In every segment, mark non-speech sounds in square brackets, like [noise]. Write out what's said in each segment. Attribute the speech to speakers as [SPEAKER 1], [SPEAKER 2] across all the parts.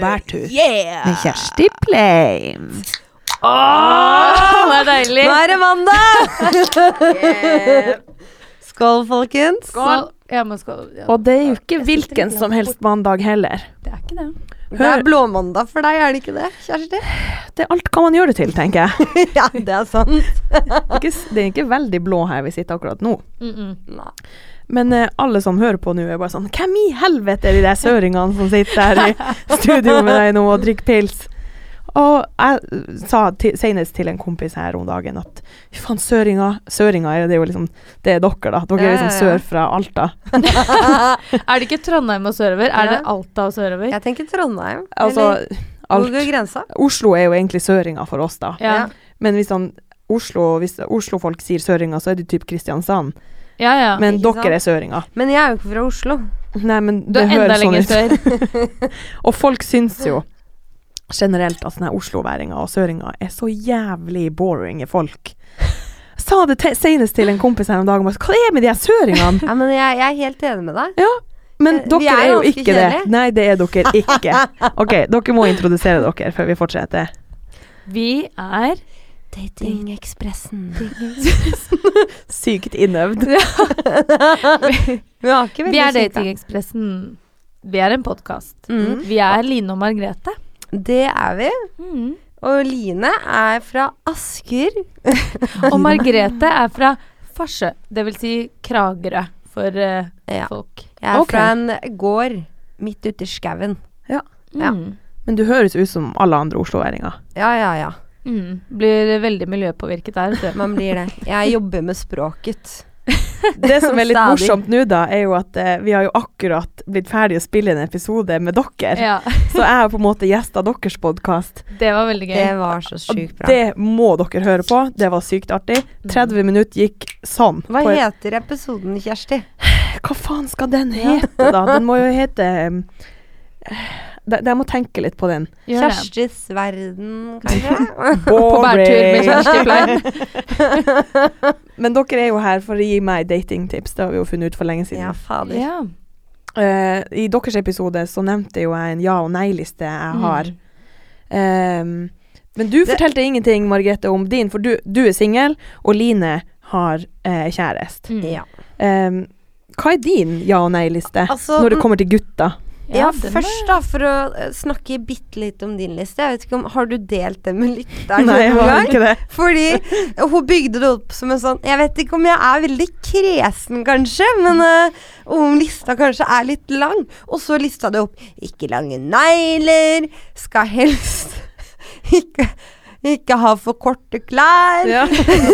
[SPEAKER 1] bærtur
[SPEAKER 2] Yeah!
[SPEAKER 1] med Kjersti Pleim.
[SPEAKER 2] Åh, det er deilig.
[SPEAKER 1] Nå er det mandag! Skål, folkens.
[SPEAKER 2] Skål. Ja, men skål. Ja.
[SPEAKER 3] Og det er jo ikke
[SPEAKER 2] Jeg synes det er
[SPEAKER 3] hvilken
[SPEAKER 2] litt
[SPEAKER 3] som helst mandag heller.
[SPEAKER 2] Det er ikke det.
[SPEAKER 1] Det er blåmandag for deg, er det ikke det, Kjersti?
[SPEAKER 3] Det er alt hva man gjør det til, tenker jeg.
[SPEAKER 1] Ja, det er sant.
[SPEAKER 3] Ikke, s- det er ikke veldig blå her vi sitter akkurat nå.
[SPEAKER 2] Mm -mm.
[SPEAKER 3] Men eh, alle som hører på nå, er bare sånn Hvem i helvete er de der søringene som sitter her i studio med deg nå og drikker pils? Og jeg eh, sa til, senest til en kompis her om dagen at fy faen, søringa Søringa er det jo liksom Det er dere, da. Dere
[SPEAKER 1] Ja,
[SPEAKER 3] er
[SPEAKER 1] ja,
[SPEAKER 3] liksom
[SPEAKER 1] ja.
[SPEAKER 3] sør fra Alta.
[SPEAKER 2] Er det ikke Trondheim og sørover? Er
[SPEAKER 1] Ja.
[SPEAKER 2] det Alta og sørover?
[SPEAKER 1] Jeg tenker Trondheim.
[SPEAKER 3] Altså
[SPEAKER 1] eller Hvor
[SPEAKER 3] alt.
[SPEAKER 1] går grensa?
[SPEAKER 3] Oslo er jo egentlig søringa for oss, da.
[SPEAKER 2] Ja.
[SPEAKER 3] Men hvis han Oslo, hvis Oslo-folk sier søringa, så er det typ Kristiansand.
[SPEAKER 2] ja, ja.
[SPEAKER 3] Men
[SPEAKER 1] Ikke sant?
[SPEAKER 3] dere er søringa.
[SPEAKER 1] Men jeg er jo ikke fra Oslo.
[SPEAKER 3] Nei, men
[SPEAKER 2] du
[SPEAKER 3] det
[SPEAKER 2] er enda
[SPEAKER 3] høres sånn
[SPEAKER 2] lenger
[SPEAKER 3] ut.
[SPEAKER 2] sør.
[SPEAKER 3] [laughs] Og folk syns jo generelt at sånne osloværinger og søringer er så jævlig boring folk. Sa det te senest til en kompis her om dagen. bare, Hva er det med de her søringene?
[SPEAKER 1] Ja, men jeg, jeg er helt enig med deg.
[SPEAKER 3] Men
[SPEAKER 1] Eh, vi
[SPEAKER 3] dere
[SPEAKER 1] er
[SPEAKER 3] er jo
[SPEAKER 1] ganske
[SPEAKER 3] ikke det.
[SPEAKER 1] kjedelige.
[SPEAKER 3] Nei, det er dere ikke. OK, dere må introdusere dere før vi fortsetter.
[SPEAKER 2] Vi er
[SPEAKER 1] Datingekspressen.
[SPEAKER 3] Sykt innøvd. [laughs]
[SPEAKER 1] Vi har ikke
[SPEAKER 2] Vi
[SPEAKER 1] veldig
[SPEAKER 2] er
[SPEAKER 1] sykt, da.
[SPEAKER 2] Datingekspressen. Vi er en podkast.
[SPEAKER 1] Mm.
[SPEAKER 2] Vi er Line og Margrethe.
[SPEAKER 1] Det er vi. Mm. Og Line er fra Asker.
[SPEAKER 2] Og Margrethe er fra Farsø, det vil Si Kragerø for eh,
[SPEAKER 1] Ja.
[SPEAKER 2] folk.
[SPEAKER 1] Jeg er
[SPEAKER 3] Ok.
[SPEAKER 1] fra en gård midt ute i skauen. Ja.
[SPEAKER 2] Mm.
[SPEAKER 3] Men du høres ut som alle andre osloværinger.
[SPEAKER 1] Ja, ja, ja.
[SPEAKER 2] Mm. Blir veldig miljøpåvirket der. vet du.
[SPEAKER 1] Man blir det. Jeg jobber med språket.
[SPEAKER 3] Det som er litt
[SPEAKER 1] Stadig.
[SPEAKER 3] morsomt nå, da, er jo at eh, vi har jo akkurat blitt ferdig å spille en episode med dere.
[SPEAKER 2] Ja,
[SPEAKER 3] Så jeg har på en måte gjesta deres podkast.
[SPEAKER 2] det var veldig gøy.
[SPEAKER 1] Det var så sjukt bra. Mm.
[SPEAKER 3] Det må dere høre på. Det var sykt artig. 30 minutter gikk sånn.
[SPEAKER 1] Hva
[SPEAKER 3] På-
[SPEAKER 1] heter episoden, Kjersti?
[SPEAKER 3] Hva faen skal den hete, da? Den må jo hete um, de- Jeg må tenke litt
[SPEAKER 1] [laughs]
[SPEAKER 3] på den.
[SPEAKER 2] Gjør det.
[SPEAKER 1] Kjerstis verden, kanskje?
[SPEAKER 2] På bærtur med Kjersti Plein.
[SPEAKER 3] [laughs] Men dere er jo her for å gi meg datingtips. Det har vi jo funnet ut for lenge siden.
[SPEAKER 1] [laughs] ja, fader.
[SPEAKER 2] Ja.
[SPEAKER 3] Eh, I deres episode så nevnte jo jeg en ja- og nei-liste jeg har.
[SPEAKER 2] Mm.
[SPEAKER 3] Um, men du
[SPEAKER 1] Det-
[SPEAKER 3] fortalte ingenting, Margrethe, om din, for du, du er singel, og Line har eh, kjæreste.
[SPEAKER 2] Mm.
[SPEAKER 1] Ja.
[SPEAKER 3] Um, hva er din ja- og nei-liste
[SPEAKER 1] Altså,
[SPEAKER 3] når det kommer til gutta?
[SPEAKER 1] Ja,
[SPEAKER 2] den
[SPEAKER 1] først da, for å eh, snakke bitte litt om din liste. Jeg vet ikke om, Har du delt det med lytteren?
[SPEAKER 3] Nei, jeg
[SPEAKER 1] noen
[SPEAKER 3] har
[SPEAKER 1] gang?
[SPEAKER 3] ikke det.
[SPEAKER 1] Fordi hun bygde det opp som en sånn Jeg vet ikke om jeg er veldig kresen, kanskje, men eh, om lista kanskje er litt lang. Og så lista det opp ikke lange negler, skal helst [laughs] ikke, ikke ha for korte klær, [laughs]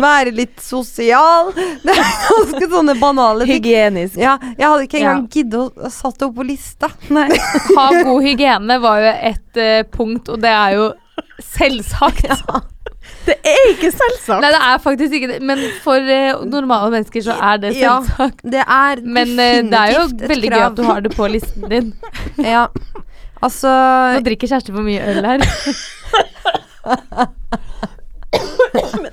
[SPEAKER 1] være litt sosial. Det er ganske sånne banale ting.
[SPEAKER 3] Hygienisk.
[SPEAKER 1] Ja, jeg hadde ikke
[SPEAKER 2] Ja.
[SPEAKER 1] engang giddet å- å satt det opp på lista.
[SPEAKER 2] er- Ha god hygiene var jo et eh, punkt, og det er jo selvsagt.
[SPEAKER 3] Det er ikke selvsagt.
[SPEAKER 2] Nei, det er faktisk ikke det, men for eh, normale mennesker [laughs] så er det
[SPEAKER 1] Ja.
[SPEAKER 2] selvsagt.
[SPEAKER 1] Det er
[SPEAKER 2] Men eh, det er jo
[SPEAKER 1] definitivt et
[SPEAKER 2] veldig gøy
[SPEAKER 1] krav.
[SPEAKER 2] at du har det på listen
[SPEAKER 1] [laughs]
[SPEAKER 2] din.
[SPEAKER 1] Ja. Altså
[SPEAKER 2] Nå drikker Kjersti for mye øl her.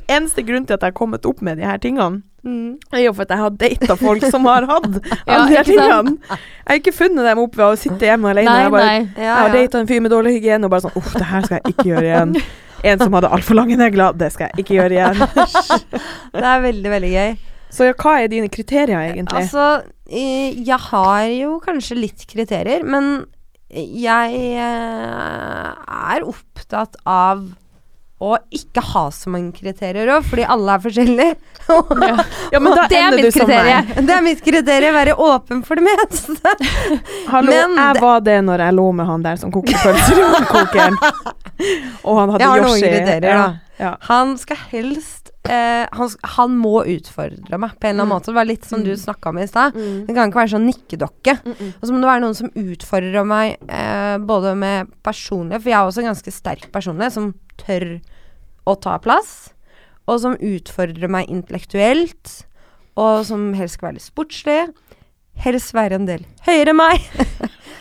[SPEAKER 3] Eneste grunn til at jeg har kommet opp med de her tingene,
[SPEAKER 1] mm.
[SPEAKER 3] er jo for at jeg har data folk som har hatt [laughs] alle de
[SPEAKER 2] Ja,
[SPEAKER 3] her
[SPEAKER 2] ikke
[SPEAKER 3] tingene. Jeg har ikke funnet dem opp ved å sitte hjemme alene.
[SPEAKER 2] Nei,
[SPEAKER 3] jeg, bare,
[SPEAKER 2] nei.
[SPEAKER 1] ja,
[SPEAKER 3] jeg har
[SPEAKER 1] ja.
[SPEAKER 3] data en fyr med dårlig hygiene og bare sånn Uff, det her skal jeg ikke gjøre igjen. En som hadde altfor lange negler. Det skal jeg ikke gjøre
[SPEAKER 1] [laughs]
[SPEAKER 3] igjen.
[SPEAKER 1] Det er veldig, veldig gøy.
[SPEAKER 3] Så ja, hva er dine kriterier, egentlig?
[SPEAKER 1] Altså, eh, jeg har jo kanskje litt kriterier, men jeg eh, er opptatt av å ikke ha så mange kriterier òg, fordi alle er forskjellige. [laughs]
[SPEAKER 3] Ja, men da
[SPEAKER 2] Det er
[SPEAKER 3] ender
[SPEAKER 2] mitt
[SPEAKER 3] du som
[SPEAKER 2] kriterium.
[SPEAKER 3] meg.
[SPEAKER 1] det er mitt kriterium, være åpen for det meste.
[SPEAKER 3] Hallo,
[SPEAKER 1] Men
[SPEAKER 3] jeg
[SPEAKER 1] det-
[SPEAKER 3] var det når jeg lå med han der som kokte pølser i
[SPEAKER 1] [laughs]
[SPEAKER 3] ovnkokeren. Og han hadde
[SPEAKER 1] Jeg har noen
[SPEAKER 3] Yoshi.
[SPEAKER 1] kriterier,
[SPEAKER 3] ja,
[SPEAKER 1] da.
[SPEAKER 3] ja.
[SPEAKER 1] Han skal helst eh, han, sk- han må utfordre meg på en eller annen måte. Det var litt som du snakka om i stad. Det kan ikke være sånn nikkedokke.
[SPEAKER 2] Mm,
[SPEAKER 1] Og så må det være noen som utfordrer meg eh, både med personlighet, for jeg er også en ganske sterk personlighet, som tør å ta plass. Og som utfordrer meg intellektuelt. Og som helst skal være litt sportslig. Helst være en del høyere enn meg. [laughs]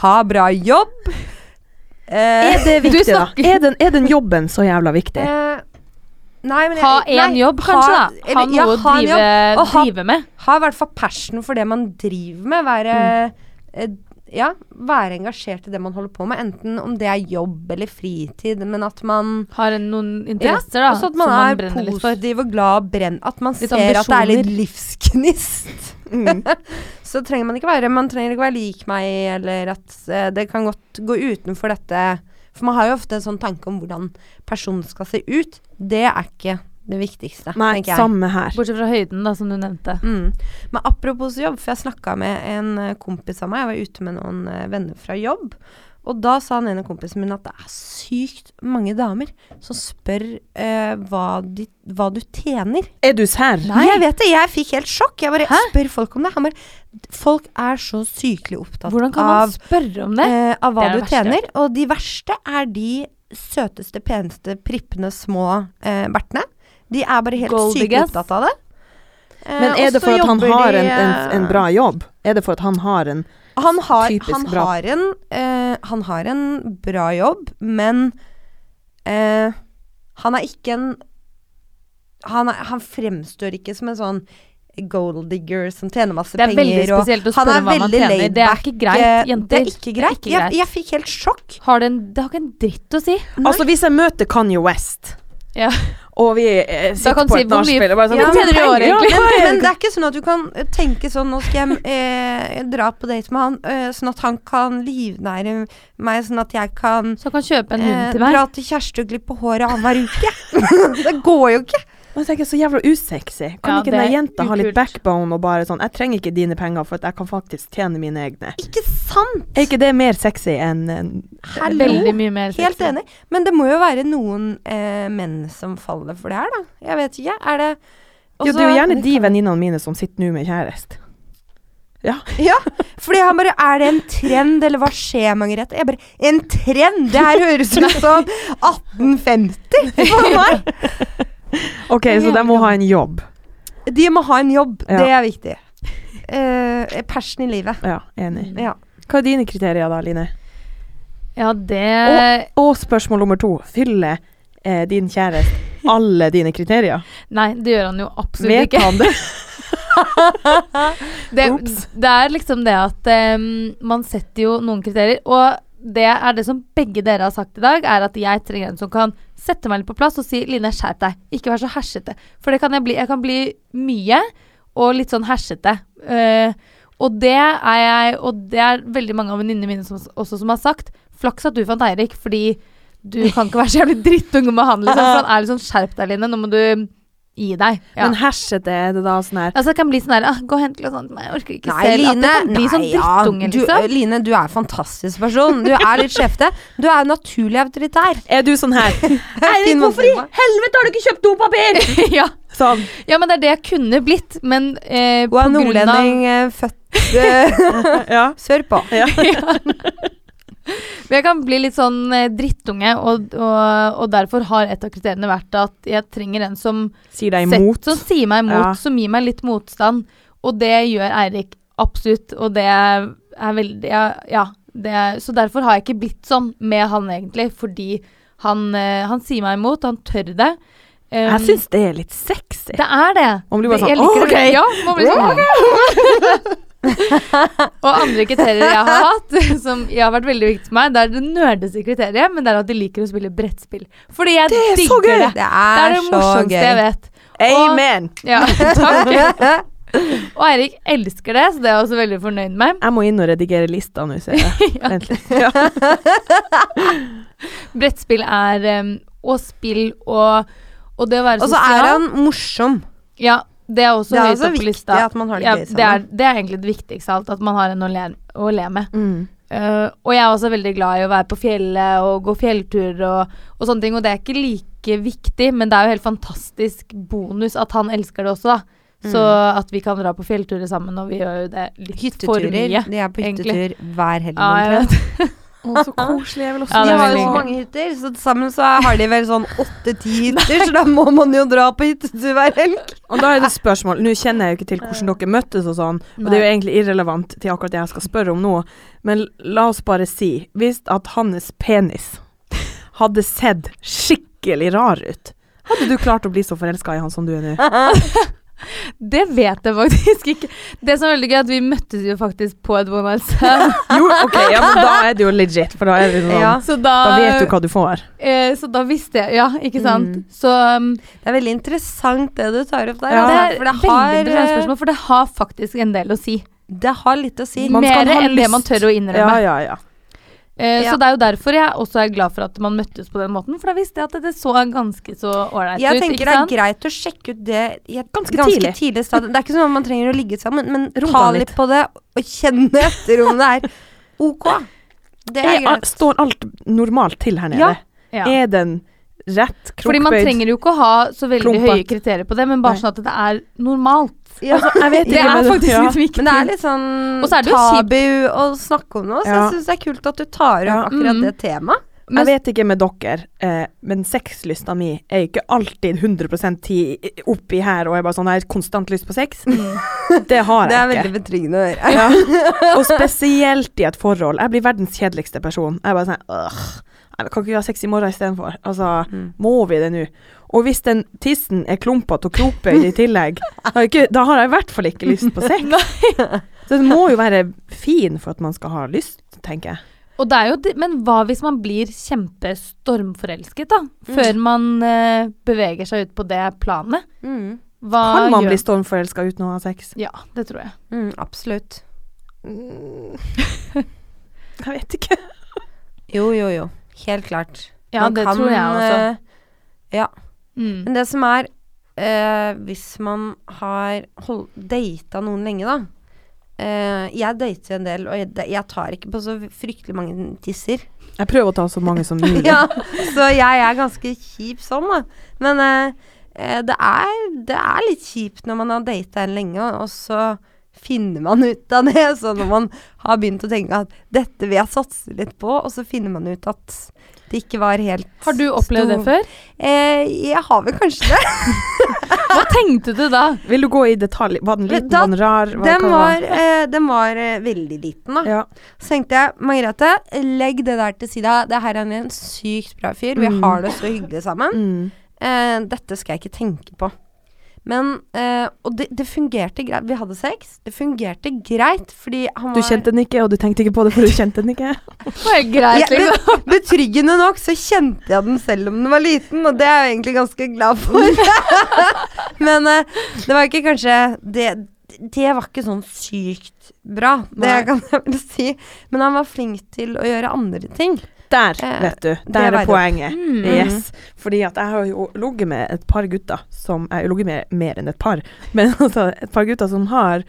[SPEAKER 1] ha bra jobb. Eh,
[SPEAKER 3] Er det [laughs] viktig,
[SPEAKER 2] Du
[SPEAKER 3] da?
[SPEAKER 2] snakker-
[SPEAKER 3] Er den, er den jobben så jævla viktig?
[SPEAKER 1] Eh, nei, men jeg-
[SPEAKER 2] Ha én
[SPEAKER 1] nei,
[SPEAKER 2] jobb, kanskje, da. Ha
[SPEAKER 1] eller- ja,
[SPEAKER 2] noe å
[SPEAKER 1] ha en
[SPEAKER 2] drive,
[SPEAKER 1] jobb, og ha-
[SPEAKER 2] drive med. Mm.
[SPEAKER 1] Ha i hvert fall passion for det man driver med. Være eh, ja, være engasjert i det man holder på med, enten om det er jobb eller fritid, men at man
[SPEAKER 2] Har en, noen interesser,
[SPEAKER 1] ja, også
[SPEAKER 2] da.
[SPEAKER 1] at
[SPEAKER 2] som
[SPEAKER 1] man
[SPEAKER 2] man
[SPEAKER 1] er
[SPEAKER 2] brenner litt for.
[SPEAKER 1] positiv og glad og brenn, at man
[SPEAKER 2] Litt
[SPEAKER 1] ser at det er litt
[SPEAKER 2] ambisjoner. [laughs]
[SPEAKER 1] livsgnist. [laughs]
[SPEAKER 3] Mm.
[SPEAKER 1] Så trenger man ikke være Man trenger ikke være lik meg, eller at eh, det kan godt gå utenfor dette For man har jo ofte en sånn tanke om hvordan personen skal se ut. Det er ikke det viktigste,
[SPEAKER 3] Nei,
[SPEAKER 1] tenker jeg.
[SPEAKER 3] samme her.
[SPEAKER 2] Bortsett fra høyden, da, som du nevnte.
[SPEAKER 1] Mm. Men apropos jobb, for jeg snakka med en eh, kompis av meg. Jeg var ute med noen eh, venner fra jobb. Og da sa den ene kompisen min at det er sykt mange damer som spør eh, hva, de, hva du tjener.
[SPEAKER 3] Er du sær?
[SPEAKER 2] Nei.
[SPEAKER 1] Jeg vet det, jeg fikk helt sjokk. Jeg bare
[SPEAKER 2] Hæ?
[SPEAKER 1] spør folk om det. Han bare, folk er så sykelig opptatt
[SPEAKER 2] Hvordan kan man
[SPEAKER 1] av,
[SPEAKER 2] spørre om det?
[SPEAKER 1] eh, av hva
[SPEAKER 2] Det er
[SPEAKER 1] du
[SPEAKER 2] det verste.
[SPEAKER 1] tjener. Og de verste er de søteste, peneste, prippende små eh, bertene. De er bare helt
[SPEAKER 2] Gold
[SPEAKER 1] sykelig
[SPEAKER 2] diggers.
[SPEAKER 1] opptatt av det. Eh,
[SPEAKER 3] Men er
[SPEAKER 1] og så
[SPEAKER 3] det for at han
[SPEAKER 1] jobber
[SPEAKER 3] har
[SPEAKER 1] de, eh,
[SPEAKER 3] en, en, en bra jobb? Er det for at han har en
[SPEAKER 1] han har,
[SPEAKER 3] Typisk
[SPEAKER 1] han,
[SPEAKER 3] bra.
[SPEAKER 1] har en, eh, han har en bra jobb, men eh, han er ikke en han, er, han fremstår ikke som en sånn gold digger som tjener masse
[SPEAKER 2] Det er veldig
[SPEAKER 1] penger. og-
[SPEAKER 2] spesielt å
[SPEAKER 1] han
[SPEAKER 2] spørre
[SPEAKER 1] er
[SPEAKER 2] om hva man
[SPEAKER 1] veldig
[SPEAKER 2] tjener. Det er
[SPEAKER 1] laid
[SPEAKER 2] ikke greit,
[SPEAKER 1] Eh, Det
[SPEAKER 2] jenter.
[SPEAKER 1] er ikke greit.
[SPEAKER 2] ikke greit.
[SPEAKER 1] Jeg, jeg fikk helt sjokk.
[SPEAKER 2] Har det, en, det har ikke en dritt å si.
[SPEAKER 3] Altså, hvis jeg møter Kanye West
[SPEAKER 2] Ja.
[SPEAKER 3] og vi eh, sitter
[SPEAKER 2] kan
[SPEAKER 3] på
[SPEAKER 2] si
[SPEAKER 3] et
[SPEAKER 2] hvor mye-
[SPEAKER 3] nachspiel og bare sånn
[SPEAKER 1] Ja,
[SPEAKER 3] «Hvor
[SPEAKER 1] men
[SPEAKER 3] tjener du i
[SPEAKER 2] penger,
[SPEAKER 3] året,
[SPEAKER 2] ja,
[SPEAKER 3] egentlig?»
[SPEAKER 1] Men, men det er ikke sånn at du kan eh, tenke sånn Nå skal jeg eh, dra på date med han, eh, sånn at han kan livnære meg, sånn at jeg kan
[SPEAKER 2] [laughs] Så han kan kjøpe en hund
[SPEAKER 1] eh,
[SPEAKER 2] til meg.
[SPEAKER 1] dra til Kjersti og glippe håret annenhver uke. [laughs] det går jo ikke.
[SPEAKER 3] Og så tenker Altså, jeg så jævla usexy. Kan
[SPEAKER 2] Ja,
[SPEAKER 3] ikke
[SPEAKER 2] det
[SPEAKER 3] den
[SPEAKER 2] er
[SPEAKER 3] jenta ha litt
[SPEAKER 2] ukult.
[SPEAKER 3] backbone og bare sånn Jeg trenger ikke dine penger, for at jeg kan faktisk tjene mine egne.
[SPEAKER 1] Ikke sant?
[SPEAKER 3] Er ikke det mer sexy enn eh, en-
[SPEAKER 1] Hallo.
[SPEAKER 2] Veldig mye mer.
[SPEAKER 1] Helt
[SPEAKER 2] sexy.
[SPEAKER 1] enig. Men det må jo være noen eh, menn som faller for det her, da. Jeg vet ikke. Er det [laughs]
[SPEAKER 3] Jo,
[SPEAKER 1] Også-
[SPEAKER 3] det er jo gjerne de venninnene mine som sitter nå med kjæreste.
[SPEAKER 1] Ja, fordi han bare Er det en trend, eller hva skjer mange rett? Jeg bare En trend?! Det her høres ut [laughs] som 1850 for meg!
[SPEAKER 3] OK, så de må ha en jobb.
[SPEAKER 1] De må ha en jobb.
[SPEAKER 3] Ja.
[SPEAKER 1] Det er
[SPEAKER 2] [laughs]
[SPEAKER 1] viktig. Eh, persen i livet.
[SPEAKER 3] Ja, enig.
[SPEAKER 1] Ja.
[SPEAKER 3] Hva er dine kriterier da, Line?
[SPEAKER 2] Ja, det
[SPEAKER 3] Og spørsmål nummer to. Fyller eh, din kjæreste alle dine kriterier?
[SPEAKER 2] Nei, det gjør han jo absolutt
[SPEAKER 3] Vet
[SPEAKER 2] ikke.
[SPEAKER 3] han [laughs] det?
[SPEAKER 2] Det,
[SPEAKER 3] Ops.
[SPEAKER 2] det er liksom det at em, man setter jo noen kriterier, og det er det som begge dere har sagt i dag, er at jeg trenger en som kan sette meg litt på plass og si Line, skjerp deg. Ikke vær så hersete. For det kan jeg bli. Jeg kan bli mye og litt sånn hersete. Eh, og det er jeg, og det er veldig mange av venninnene mine som, også som har sagt Flaks at du fant Eirik, fordi du kan ikke være så jævlig drittunge med han. Liksom. For han er litt sånn skjerp deg, Line. Nå må du gi deg. Ja.
[SPEAKER 3] Men hersete er det da sånn her
[SPEAKER 2] Altså, det kan bli sånn her ah, Gå og hent litt sånt, men jeg orker ikke
[SPEAKER 1] Nei,
[SPEAKER 2] selv.
[SPEAKER 1] Line,
[SPEAKER 2] at det kan bli
[SPEAKER 1] nei,
[SPEAKER 2] sånn
[SPEAKER 1] ja, du,
[SPEAKER 2] drittunge, liksom.
[SPEAKER 1] Line, du er en fantastisk person. Du er litt skjefte. Du er naturlig autoritær.
[SPEAKER 2] [laughs]
[SPEAKER 3] Er du sånn her
[SPEAKER 1] Fin
[SPEAKER 3] Eirik, hvorfor i
[SPEAKER 1] måte.
[SPEAKER 3] helvete har du ikke kjøpt dopapir?!
[SPEAKER 2] [laughs] ja.
[SPEAKER 3] [laughs] Sånn.
[SPEAKER 2] ja, men det er det jeg kunne blitt, men eh,
[SPEAKER 1] Hun
[SPEAKER 2] på
[SPEAKER 1] er
[SPEAKER 2] grunn av
[SPEAKER 1] nordlending, eh, født eh, [laughs]
[SPEAKER 3] Ja.
[SPEAKER 1] sørpå.
[SPEAKER 2] Men Jeg kan bli litt sånn eh, drittunge, og, og, og derfor har et av kriteriene vært at jeg trenger en som,
[SPEAKER 3] Sier deg
[SPEAKER 2] sett-
[SPEAKER 3] imot.
[SPEAKER 2] som sier meg imot,
[SPEAKER 3] Ja.
[SPEAKER 2] som gir meg litt motstand. Og det gjør Eirik absolutt, og det er veldig Ja. ja det, er- så derfor har jeg ikke blitt sånn med han, egentlig, fordi han, eh, han sier meg imot, han tør det. Um,
[SPEAKER 3] Jeg syns det er litt sexy.
[SPEAKER 2] Det er det.
[SPEAKER 3] Man blir bare
[SPEAKER 2] Det- jeg
[SPEAKER 3] sånn,
[SPEAKER 2] liker det.
[SPEAKER 3] «Ok».
[SPEAKER 2] Ja, man blir sånn Og andre kriterier jeg har hatt, [laughs] som jeg har vært veldig viktig for meg, det er det nerdeste kriteriet, men det er at de liker å spille brettspill. Fordi jeg
[SPEAKER 3] Det er så
[SPEAKER 2] digger
[SPEAKER 3] gøy.
[SPEAKER 2] det.
[SPEAKER 1] Det
[SPEAKER 2] Det er
[SPEAKER 1] er,
[SPEAKER 2] det morsomste jeg
[SPEAKER 1] [laughs]
[SPEAKER 2] vet.
[SPEAKER 3] Amen!
[SPEAKER 2] Ja, takk.
[SPEAKER 1] så gøy.
[SPEAKER 2] Og Eirik elsker det, så det er jeg også veldig fornøyd med.
[SPEAKER 3] Jeg må inn og redigere lista nå, ser jeg. Vent litt. [laughs] Ja.
[SPEAKER 2] Brettspill er um, Og spill og Og [laughs] det å være
[SPEAKER 1] Og så
[SPEAKER 2] sosial.
[SPEAKER 1] er han morsom.
[SPEAKER 2] Ja, det er også
[SPEAKER 1] Det er
[SPEAKER 2] høyt
[SPEAKER 1] også
[SPEAKER 2] oppe på
[SPEAKER 1] viktig
[SPEAKER 2] lista.
[SPEAKER 1] at man har det
[SPEAKER 2] Ja,
[SPEAKER 1] gøy
[SPEAKER 2] det, er,
[SPEAKER 1] sammen.
[SPEAKER 2] det er egentlig det viktigste av alt, at man har en å le, å le med.
[SPEAKER 3] Mm.
[SPEAKER 2] Eh, og jeg er også veldig glad i å være på fjellet og gå fjellturer og, og sånne ting. Og det er ikke like viktig, men det er jo helt fantastisk bonus at han elsker det også, da. Så
[SPEAKER 3] Mm.
[SPEAKER 2] at vi kan dra på fjellturer sammen, og vi gjør jo det litt for
[SPEAKER 1] Hytteturer.
[SPEAKER 2] mye.
[SPEAKER 1] De er på hyttetur
[SPEAKER 2] egentlig.
[SPEAKER 1] hver helg.
[SPEAKER 2] Ja, [laughs] jeg
[SPEAKER 1] omtrent.
[SPEAKER 2] vet.
[SPEAKER 3] Å, så koselig. Jeg vil også
[SPEAKER 2] Ja,
[SPEAKER 1] de
[SPEAKER 2] det er
[SPEAKER 1] har
[SPEAKER 2] veldig
[SPEAKER 1] jo så
[SPEAKER 2] hyggelig.
[SPEAKER 1] mange hytter, så til sammen så har de vel sånn åtte-ti hytter, så da må man jo dra på hyttetur hver helg.
[SPEAKER 3] Og da er det spørsmål Nå kjenner jeg jo ikke til hvordan dere møttes og sånn, og det er jo egentlig irrelevant til akkurat det jeg skal spørre om nå, men la oss bare si Hvis at hans penis hadde [laughs] sett skikkelig rar ut, hadde du klart å bli så forelska i han som du er nå?
[SPEAKER 2] Det vet jeg faktisk ikke. Det som er veldig gøy, er at vi møttes jo faktisk på et one night
[SPEAKER 3] [laughs]
[SPEAKER 2] stand.
[SPEAKER 3] Jo, ok, ja, men da er det jo legit, for da er det sånn
[SPEAKER 1] Ja.
[SPEAKER 2] Så da,
[SPEAKER 3] Da vet du hva du får.
[SPEAKER 2] eh, så da visste jeg Ja, ikke sant?
[SPEAKER 1] Mm.
[SPEAKER 2] Så um,
[SPEAKER 1] Det er veldig interessant det du tar opp der.
[SPEAKER 3] Ja.
[SPEAKER 1] altså,
[SPEAKER 2] det er
[SPEAKER 1] for det
[SPEAKER 2] veldig
[SPEAKER 1] har,
[SPEAKER 2] interessant
[SPEAKER 1] eh,
[SPEAKER 2] spørsmål, for det har faktisk en del å si.
[SPEAKER 1] det har litt å si.
[SPEAKER 3] Man skal
[SPEAKER 2] Mer
[SPEAKER 3] ha
[SPEAKER 2] enn det man
[SPEAKER 3] lyst.
[SPEAKER 2] tør å innrømme.
[SPEAKER 3] ja, ja.
[SPEAKER 2] Eh,
[SPEAKER 1] Ja.
[SPEAKER 2] Så det er jo derfor jeg også er glad for at man møttes på den måten, for da visste jeg at det så ganske så ålreit ut.
[SPEAKER 1] Jeg tenker
[SPEAKER 2] ikke
[SPEAKER 1] det er
[SPEAKER 2] sant?
[SPEAKER 1] greit å sjekke ut det i et
[SPEAKER 3] Ganske
[SPEAKER 1] ganske,
[SPEAKER 3] tidlig.
[SPEAKER 1] tidlig. stadium. Det er ikke sånn at man trenger å ligge sammen, men
[SPEAKER 3] Roe
[SPEAKER 1] ta
[SPEAKER 3] deg
[SPEAKER 1] litt
[SPEAKER 3] litt.
[SPEAKER 1] på det og kjenne [laughs] etter om det er ok. Det er
[SPEAKER 3] Er,
[SPEAKER 1] greit.
[SPEAKER 3] står alt normalt til her nede?
[SPEAKER 1] Ja.
[SPEAKER 2] Ja.
[SPEAKER 1] Eh,
[SPEAKER 3] Er den rett
[SPEAKER 2] Fordi man
[SPEAKER 3] krokbøyd?
[SPEAKER 2] trenger jo ikke å ha så veldig
[SPEAKER 3] Klumpet.
[SPEAKER 2] høye kriterier på det, men bare
[SPEAKER 3] Nei.
[SPEAKER 2] sånn at det er normalt.
[SPEAKER 1] Ja.
[SPEAKER 3] Jeg vet
[SPEAKER 2] Det
[SPEAKER 3] ikke,
[SPEAKER 2] er
[SPEAKER 3] men-
[SPEAKER 2] faktisk
[SPEAKER 3] ja.
[SPEAKER 2] litt
[SPEAKER 1] Men
[SPEAKER 2] viktig.
[SPEAKER 1] det er litt sånn
[SPEAKER 2] Og så er det jo
[SPEAKER 1] tabu å snakke om noe, så
[SPEAKER 3] Ja.
[SPEAKER 1] jeg syns det er kult at du tar opp
[SPEAKER 3] Ja.
[SPEAKER 1] akkurat
[SPEAKER 2] Mm.
[SPEAKER 1] det temaet.
[SPEAKER 3] Jeg
[SPEAKER 2] Men-
[SPEAKER 3] vet ikke med dere, eh, men sexlysta mi er ikke alltid 100 ti oppi her, og jeg bare sånn Jeg har konstant lyst på sex. [laughs] Det har
[SPEAKER 1] Det er
[SPEAKER 3] jeg
[SPEAKER 1] veldig
[SPEAKER 3] ikke.
[SPEAKER 1] betryggende å høre.
[SPEAKER 3] Ja. Og spesielt i et forhold. Jeg blir verdens kjedeligste person. Jeg er bare sånn «Åh, nei, men Kan ikke vi ha sex i morgen istedenfor? Altså,
[SPEAKER 1] Mm.
[SPEAKER 3] må vi det nå? Og hvis den tissen er klumpete og krokbøyd i tillegg, da har, jeg ikke, da har jeg i hvert fall ikke lyst på sex. Så den må jo være fin for at man skal ha lyst, tenker jeg.
[SPEAKER 2] Og det er jo, det- men hva hvis man blir kjempestormforelsket, da? Før man eh, beveger seg ut på det planet?
[SPEAKER 1] Mm.
[SPEAKER 2] Hva
[SPEAKER 3] Kan man
[SPEAKER 2] gjør-
[SPEAKER 3] bli stormforelska uten å ha sex?
[SPEAKER 2] Ja, det tror jeg.
[SPEAKER 1] Mm, absolutt.
[SPEAKER 3] Mm. [laughs] Jeg vet ikke.
[SPEAKER 1] Jo, jo, jo. Helt klart.
[SPEAKER 2] Ja, det tror jeg også.
[SPEAKER 1] eh,
[SPEAKER 2] Mm.
[SPEAKER 1] Men det som er eh, Hvis man har hold- data noen lenge, da eh, Jeg dater en del, og jeg, jeg tar ikke på så fryktelig mange
[SPEAKER 2] [laughs]
[SPEAKER 1] tisser.
[SPEAKER 3] Jeg prøver å ta så mange som
[SPEAKER 2] Mm.
[SPEAKER 3] mulig.
[SPEAKER 1] ja, så jeg er ganske kjip sånn, da. Men eh, eh, det, er, det er litt kjipt når man har data en lenge, og så finner man ut av det. Så når man har begynt å tenke at dette vil jeg satse litt på, og så finner man ut at det ikke var helt
[SPEAKER 2] Har du opplevd det
[SPEAKER 1] stor-
[SPEAKER 2] før?
[SPEAKER 1] Eh, jeg har vel kanskje det.
[SPEAKER 2] Hva tenkte du
[SPEAKER 1] [laughs]
[SPEAKER 2] da?
[SPEAKER 3] Vil du gå i detalj? Var den liten?
[SPEAKER 1] Da-
[SPEAKER 3] var den rar? Hva- hva
[SPEAKER 1] Den var,
[SPEAKER 3] var-
[SPEAKER 1] eh, den var eh, veldig liten, da.
[SPEAKER 3] ja.
[SPEAKER 1] Så tenkte jeg, Margrethe, legg det der til sida. Det her er en sykt bra fyr. Vi
[SPEAKER 3] Mm.
[SPEAKER 1] har det så hyggelig sammen.
[SPEAKER 3] mm.
[SPEAKER 1] Eh, dette skal jeg ikke tenke på. Men eh, Og det, det fungerte greit. Vi hadde sex. Det fungerte greit fordi han var
[SPEAKER 3] Du kjente den ikke, og du tenkte ikke på det, for du kjente
[SPEAKER 1] [laughs]
[SPEAKER 3] den ikke.
[SPEAKER 2] Det var jo greit,
[SPEAKER 1] Ja,
[SPEAKER 2] liksom.
[SPEAKER 1] bet- Betryggende nok så kjente jeg den selv om den var liten, og det er jeg egentlig ganske glad
[SPEAKER 3] [laughs]
[SPEAKER 1] for. Men eh, det var ikke kanskje det, det var ikke sånn sykt bra, det
[SPEAKER 3] Nei.
[SPEAKER 1] kan jeg vel si. Men han var flink til å gjøre andre ting.
[SPEAKER 3] Der,
[SPEAKER 1] Eh,
[SPEAKER 3] vet du.
[SPEAKER 1] det var
[SPEAKER 3] Der er
[SPEAKER 1] det.
[SPEAKER 3] poenget.
[SPEAKER 2] Mm.
[SPEAKER 3] Yes. Fordi at jeg har jo ligget med et par gutter som Jeg har ligget med mer enn et par, [laughs] men altså et par gutter som har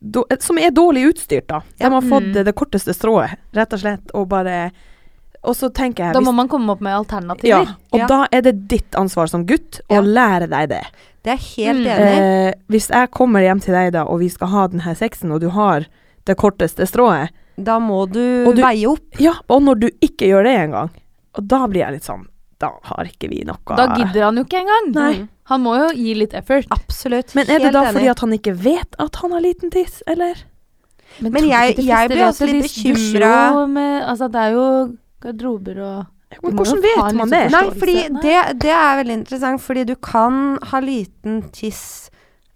[SPEAKER 3] då- Som er dårlig utstyrt, da. De
[SPEAKER 1] Ja.
[SPEAKER 3] har fått
[SPEAKER 2] Mm.
[SPEAKER 3] eh, det korteste strået, rett og slett, og bare Og så tenker jeg
[SPEAKER 2] Da
[SPEAKER 3] hvis-
[SPEAKER 2] må man komme opp med
[SPEAKER 3] Ja,
[SPEAKER 2] alternativer.
[SPEAKER 3] og
[SPEAKER 1] Ja.
[SPEAKER 3] da er det ditt ansvar som gutt å
[SPEAKER 1] Ja.
[SPEAKER 3] lære deg det.
[SPEAKER 1] Det er jeg helt
[SPEAKER 2] Mm.
[SPEAKER 1] enig i.
[SPEAKER 3] Eh, hvis jeg kommer hjem til deg da, og vi skal ha den her sexen, og du har det korteste strået,
[SPEAKER 1] Da må du,
[SPEAKER 3] og du-
[SPEAKER 1] veie opp.
[SPEAKER 3] ja, og når du ikke gjør det engang, og da blir jeg litt sånn, da har ikke vi noe.
[SPEAKER 2] Da gidder han jo ikke engang. Mm.
[SPEAKER 3] Nei.
[SPEAKER 2] Han må jo gi litt effort.
[SPEAKER 1] Mm. Absolutt.
[SPEAKER 3] Men er det
[SPEAKER 1] helt
[SPEAKER 3] da
[SPEAKER 1] enig.
[SPEAKER 3] fordi at han ikke vet at han har liten tiss, eller?
[SPEAKER 1] Men
[SPEAKER 2] tror du
[SPEAKER 1] jeg-
[SPEAKER 2] ikke de
[SPEAKER 1] jeg
[SPEAKER 2] fleste
[SPEAKER 1] blir også
[SPEAKER 2] vet
[SPEAKER 1] litt
[SPEAKER 2] det? De dusjer
[SPEAKER 1] bekymret.
[SPEAKER 2] jo med- Altså, det er jo garderober og Du
[SPEAKER 3] Men
[SPEAKER 2] må jo
[SPEAKER 3] hvordan
[SPEAKER 2] ha
[SPEAKER 3] vet
[SPEAKER 2] litt
[SPEAKER 3] man det?
[SPEAKER 2] forståelse.
[SPEAKER 1] Nei, fordi
[SPEAKER 2] Nei.
[SPEAKER 1] det, det er veldig interessant, fordi du kan ha liten tiss,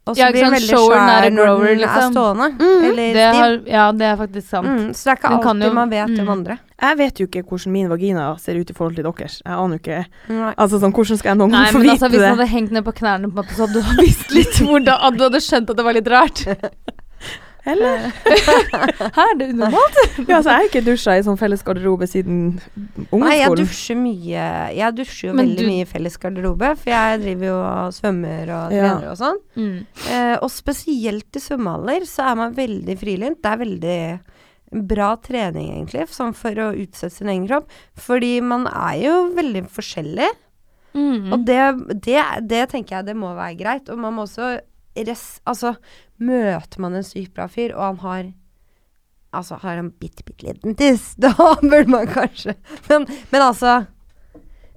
[SPEAKER 1] og så
[SPEAKER 2] Ja, ikke
[SPEAKER 1] blir den
[SPEAKER 2] sant,
[SPEAKER 1] veldig
[SPEAKER 2] shower
[SPEAKER 1] svær
[SPEAKER 2] not a
[SPEAKER 1] når
[SPEAKER 2] grower,
[SPEAKER 1] den er
[SPEAKER 2] liksom.
[SPEAKER 1] stående.
[SPEAKER 3] Mm.
[SPEAKER 1] Eller stiv.
[SPEAKER 2] Det har, ja, det er faktisk sant.
[SPEAKER 1] Eh, Mm, så det er ikke
[SPEAKER 2] Den kan
[SPEAKER 1] alltid
[SPEAKER 2] jo-
[SPEAKER 1] man vet
[SPEAKER 2] mm.
[SPEAKER 1] om andre.
[SPEAKER 3] Jeg vet jo ikke hvordan min vagina ser ut i forhold til deres. Jeg aner jo ikke.
[SPEAKER 1] Nei.
[SPEAKER 3] Altså sånn, hvordan skal jeg noen
[SPEAKER 2] Nei,
[SPEAKER 3] gang få
[SPEAKER 2] men
[SPEAKER 3] vite
[SPEAKER 2] altså, Hvis
[SPEAKER 3] det?
[SPEAKER 2] han hadde hengt ned på knærne, på en måte, så hadde du [laughs] visst litt hvordan at Du hadde skjønt at det var
[SPEAKER 1] [laughs]
[SPEAKER 2] litt rart.
[SPEAKER 3] Eller?
[SPEAKER 2] Her, det er unormalt.
[SPEAKER 3] Ja, altså, jeg har ikke dusja i sånn felles garderobe siden
[SPEAKER 1] Nei, jeg
[SPEAKER 3] ungdomsskolen.
[SPEAKER 1] dusjer mye Jeg dusjer jo
[SPEAKER 2] Men
[SPEAKER 1] veldig
[SPEAKER 2] du-
[SPEAKER 1] mye i felles garderobe, for jeg driver jo og svømmer og
[SPEAKER 3] Ja.
[SPEAKER 1] trener og sånn.
[SPEAKER 2] Mm.
[SPEAKER 1] Eh, og spesielt i svømmehaller så er man veldig frilynt. Det er veldig bra trening, egentlig, sånn for å utsette sin egen kropp. Fordi man er jo veldig forskjellig,
[SPEAKER 2] Mm.
[SPEAKER 1] og det, det, det tenker jeg det må være greit. Og man må også res... Altså, møter man en sykt bra fyr, og han har Altså, har han bitte, bitte liten tiss, [laughs] da burde man kanskje Men, men altså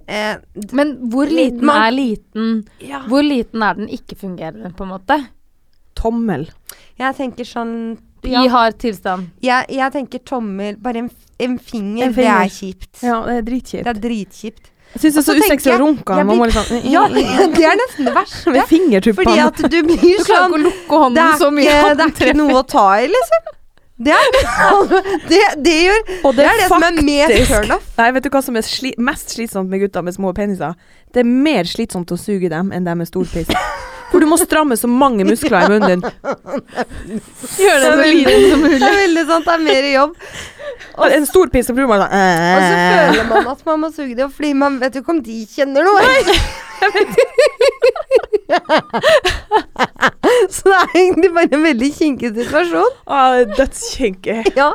[SPEAKER 1] eh, d-
[SPEAKER 2] Men hvor liten
[SPEAKER 1] Man-
[SPEAKER 2] er liten?
[SPEAKER 1] ja.
[SPEAKER 2] Hvor liten er den ikke-fungerende, på en måte?
[SPEAKER 3] Tommel.
[SPEAKER 1] Jeg tenker sånn
[SPEAKER 2] I hard tilstand.
[SPEAKER 1] Jeg, jeg tenker tommel, bare en, f- en, finger,
[SPEAKER 3] En
[SPEAKER 1] det
[SPEAKER 3] finger.
[SPEAKER 1] er kjipt.
[SPEAKER 3] Ja, det er
[SPEAKER 1] Det
[SPEAKER 3] dritkjipt.
[SPEAKER 1] er dritkjipt.
[SPEAKER 3] Jeg syns det er
[SPEAKER 1] Og så
[SPEAKER 3] så usexy
[SPEAKER 1] tenker
[SPEAKER 3] å
[SPEAKER 1] jeg-
[SPEAKER 3] runke.
[SPEAKER 1] jeg
[SPEAKER 3] Man
[SPEAKER 1] blir-
[SPEAKER 3] må liksom
[SPEAKER 1] [laughs] Ja, det er nesten det verste.
[SPEAKER 3] Med
[SPEAKER 1] Fordi
[SPEAKER 3] fingertuppene.
[SPEAKER 1] at du blir
[SPEAKER 2] Du klarer ikke
[SPEAKER 1] sånn
[SPEAKER 2] å
[SPEAKER 1] det
[SPEAKER 2] lukke hånden
[SPEAKER 1] er,
[SPEAKER 2] så mye.
[SPEAKER 1] ikke, det er ikke noe å ta i, liksom. Det er [laughs] det, det, gjør,
[SPEAKER 3] Og
[SPEAKER 1] det, er det som er mer
[SPEAKER 3] faktisk-
[SPEAKER 1] turnoff.
[SPEAKER 3] Nei, vet du hva som er sli mest slitsomt med gutter med små peniser? Det er mer slitsomt å suge dem enn dem med stor piss. For du må stramme så mange muskler i munnen din.
[SPEAKER 2] Gjør det så liten som
[SPEAKER 1] Det
[SPEAKER 2] mulig.
[SPEAKER 1] er veldig sant, det er mer jobb.
[SPEAKER 3] Og en stor piss, så blir man sånn
[SPEAKER 1] Og så
[SPEAKER 3] eh.
[SPEAKER 1] føler man at man må suge det, fordi man vet jo ikke om de kjenner noe. [laughs] Så det er egentlig bare en veldig kinkig situasjon.
[SPEAKER 3] Å, Dødskinkig.
[SPEAKER 1] Ja.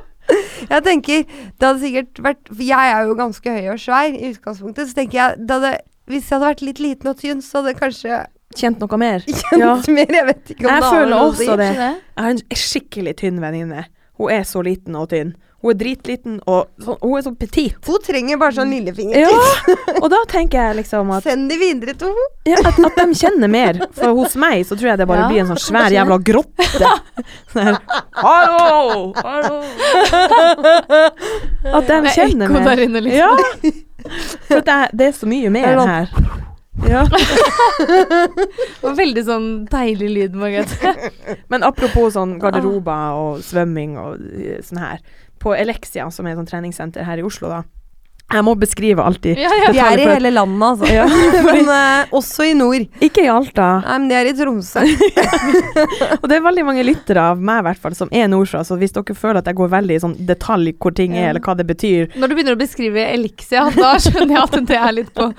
[SPEAKER 1] Jeg tenker, det hadde sikkert vært For jeg er jo ganske høy og svær i utgangspunktet, så tenker jeg det hadde, Hvis jeg hadde vært litt liten og tynn, så hadde jeg kanskje
[SPEAKER 3] Kjent noe mer?
[SPEAKER 1] kjent
[SPEAKER 3] Ja.
[SPEAKER 1] mer. Jeg vet ikke om
[SPEAKER 3] Jeg
[SPEAKER 1] det har
[SPEAKER 3] føler
[SPEAKER 1] noe å si.
[SPEAKER 3] også det.
[SPEAKER 2] Ikke det?
[SPEAKER 3] Jeg har en skikkelig tynn venninne. Hun er så liten og tynn. Hun er dritliten, og sånn, hun er så petit.
[SPEAKER 1] Hun trenger bare sånn lillefinger.
[SPEAKER 3] Ja, og da tenker jeg liksom at,
[SPEAKER 1] Send de videre til henne.
[SPEAKER 3] ja, at, at de kjenner mer. For hos meg så tror jeg det bare
[SPEAKER 2] Ja,
[SPEAKER 3] blir en sånn svær
[SPEAKER 2] kanskje.
[SPEAKER 3] jævla grotte. [laughs] Sånn her, Hallo! Hallo! At de
[SPEAKER 2] Det er
[SPEAKER 3] kjenner
[SPEAKER 2] ekko
[SPEAKER 3] mer.
[SPEAKER 2] der inne, liksom.
[SPEAKER 3] Ja. For at det, er- det er så mye
[SPEAKER 1] Det er
[SPEAKER 3] mer
[SPEAKER 1] lov.
[SPEAKER 3] her. Ja.
[SPEAKER 2] Og veldig sånn deilig lyd, Margrethe.
[SPEAKER 3] Men apropos sånn garderober og svømming og eh, sånn her. På Elexia, som er et sånt treningssenter her i Oslo, da. Jeg må beskrive alltid.
[SPEAKER 2] Ja, ja.
[SPEAKER 1] De er i hele landet, altså.
[SPEAKER 3] Ja,
[SPEAKER 1] [laughs] Men eh, også i nord.
[SPEAKER 3] Ikke i Alta.
[SPEAKER 1] Nei, men de er i Tromsø.
[SPEAKER 3] Og det er veldig mange lyttere av meg i hvert fall som er nordfra, så hvis dere føler at jeg går veldig i sånn detalj hvor ting er,
[SPEAKER 2] Ja.
[SPEAKER 3] eller hva det betyr
[SPEAKER 2] Når du begynner å beskrive Elixia, da skjønner jeg at det er litt på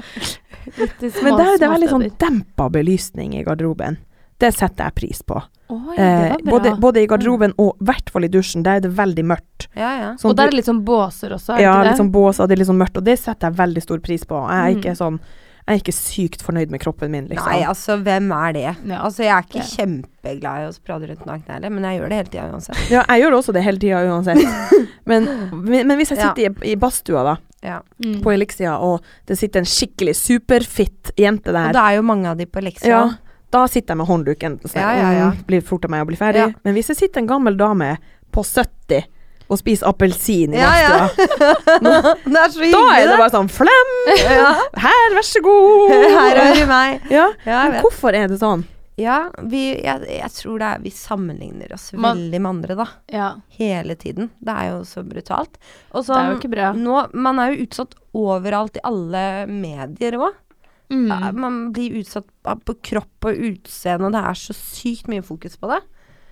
[SPEAKER 2] litt i små,
[SPEAKER 3] Men der er det
[SPEAKER 2] små
[SPEAKER 3] veldig sånn
[SPEAKER 2] steder.
[SPEAKER 3] dempa belysning i garderoben. Det setter jeg pris på.
[SPEAKER 2] Oi, det
[SPEAKER 3] Eh,
[SPEAKER 2] var bra.
[SPEAKER 3] både, både i garderoben og i hvert fall i dusjen. Der er det veldig mørkt.
[SPEAKER 1] Ja, ja.
[SPEAKER 3] Sånn
[SPEAKER 2] og der er det litt sånn båser også, er det
[SPEAKER 3] ja,
[SPEAKER 2] ikke det?
[SPEAKER 3] litt sånn bås, og det er litt sånn mørkt, og det setter jeg veldig stor pris på. Jeg er
[SPEAKER 2] Mm.
[SPEAKER 3] ikke sånn jeg er ikke sykt fornøyd med kroppen min, liksom.
[SPEAKER 1] Nei, altså, hvem er det?
[SPEAKER 2] Ja.
[SPEAKER 1] Altså, jeg er ikke
[SPEAKER 2] Ja.
[SPEAKER 1] kjempeglad i å prate rundt naken heller, men jeg gjør det hele tida uansett.
[SPEAKER 3] Ja, jeg gjør også det hele tida uansett.
[SPEAKER 2] [laughs]
[SPEAKER 3] Men, men, men hvis jeg
[SPEAKER 1] Ja.
[SPEAKER 3] sitter i, i badstua, da,
[SPEAKER 1] Ja.
[SPEAKER 2] Mm.
[SPEAKER 3] på Elixia, og det sitter en skikkelig superfit jente der
[SPEAKER 1] Og det er jo mange av de på leksa. [laughs]
[SPEAKER 3] Ja. Da sitter jeg med håndduken og sånn,
[SPEAKER 1] Ja, ja, ja.
[SPEAKER 3] mm, blir fortere meg å bli ferdig.
[SPEAKER 1] Ja.
[SPEAKER 3] Men hvis det sitter en gammel dame på 70 og spiser appelsin i
[SPEAKER 1] Ja, ja. [laughs]
[SPEAKER 3] badstua,
[SPEAKER 1] Det er så
[SPEAKER 3] da er
[SPEAKER 1] hyggelig,
[SPEAKER 3] det bare sånn flem!
[SPEAKER 1] Ja. [laughs]
[SPEAKER 3] Her, vær så god!
[SPEAKER 1] Her er det meg.
[SPEAKER 3] Ja.
[SPEAKER 1] Ja, jeg
[SPEAKER 3] Men
[SPEAKER 1] vet.
[SPEAKER 3] hvorfor er det sånn?
[SPEAKER 1] Ja, vi, jeg, jeg tror det er Vi sammenligner oss
[SPEAKER 2] Man-
[SPEAKER 1] veldig med andre, da.
[SPEAKER 2] ja.
[SPEAKER 1] Hele tiden. Det er jo så brutalt. Og
[SPEAKER 2] Det er jo
[SPEAKER 1] sånn
[SPEAKER 2] ikke bra.
[SPEAKER 1] nå, Man er jo utsatt overalt i alle medier òg. Ja,
[SPEAKER 2] Mm.
[SPEAKER 1] Eh, Man blir utsatt av- på kropp og utseende, og det er så sykt mye fokus på det.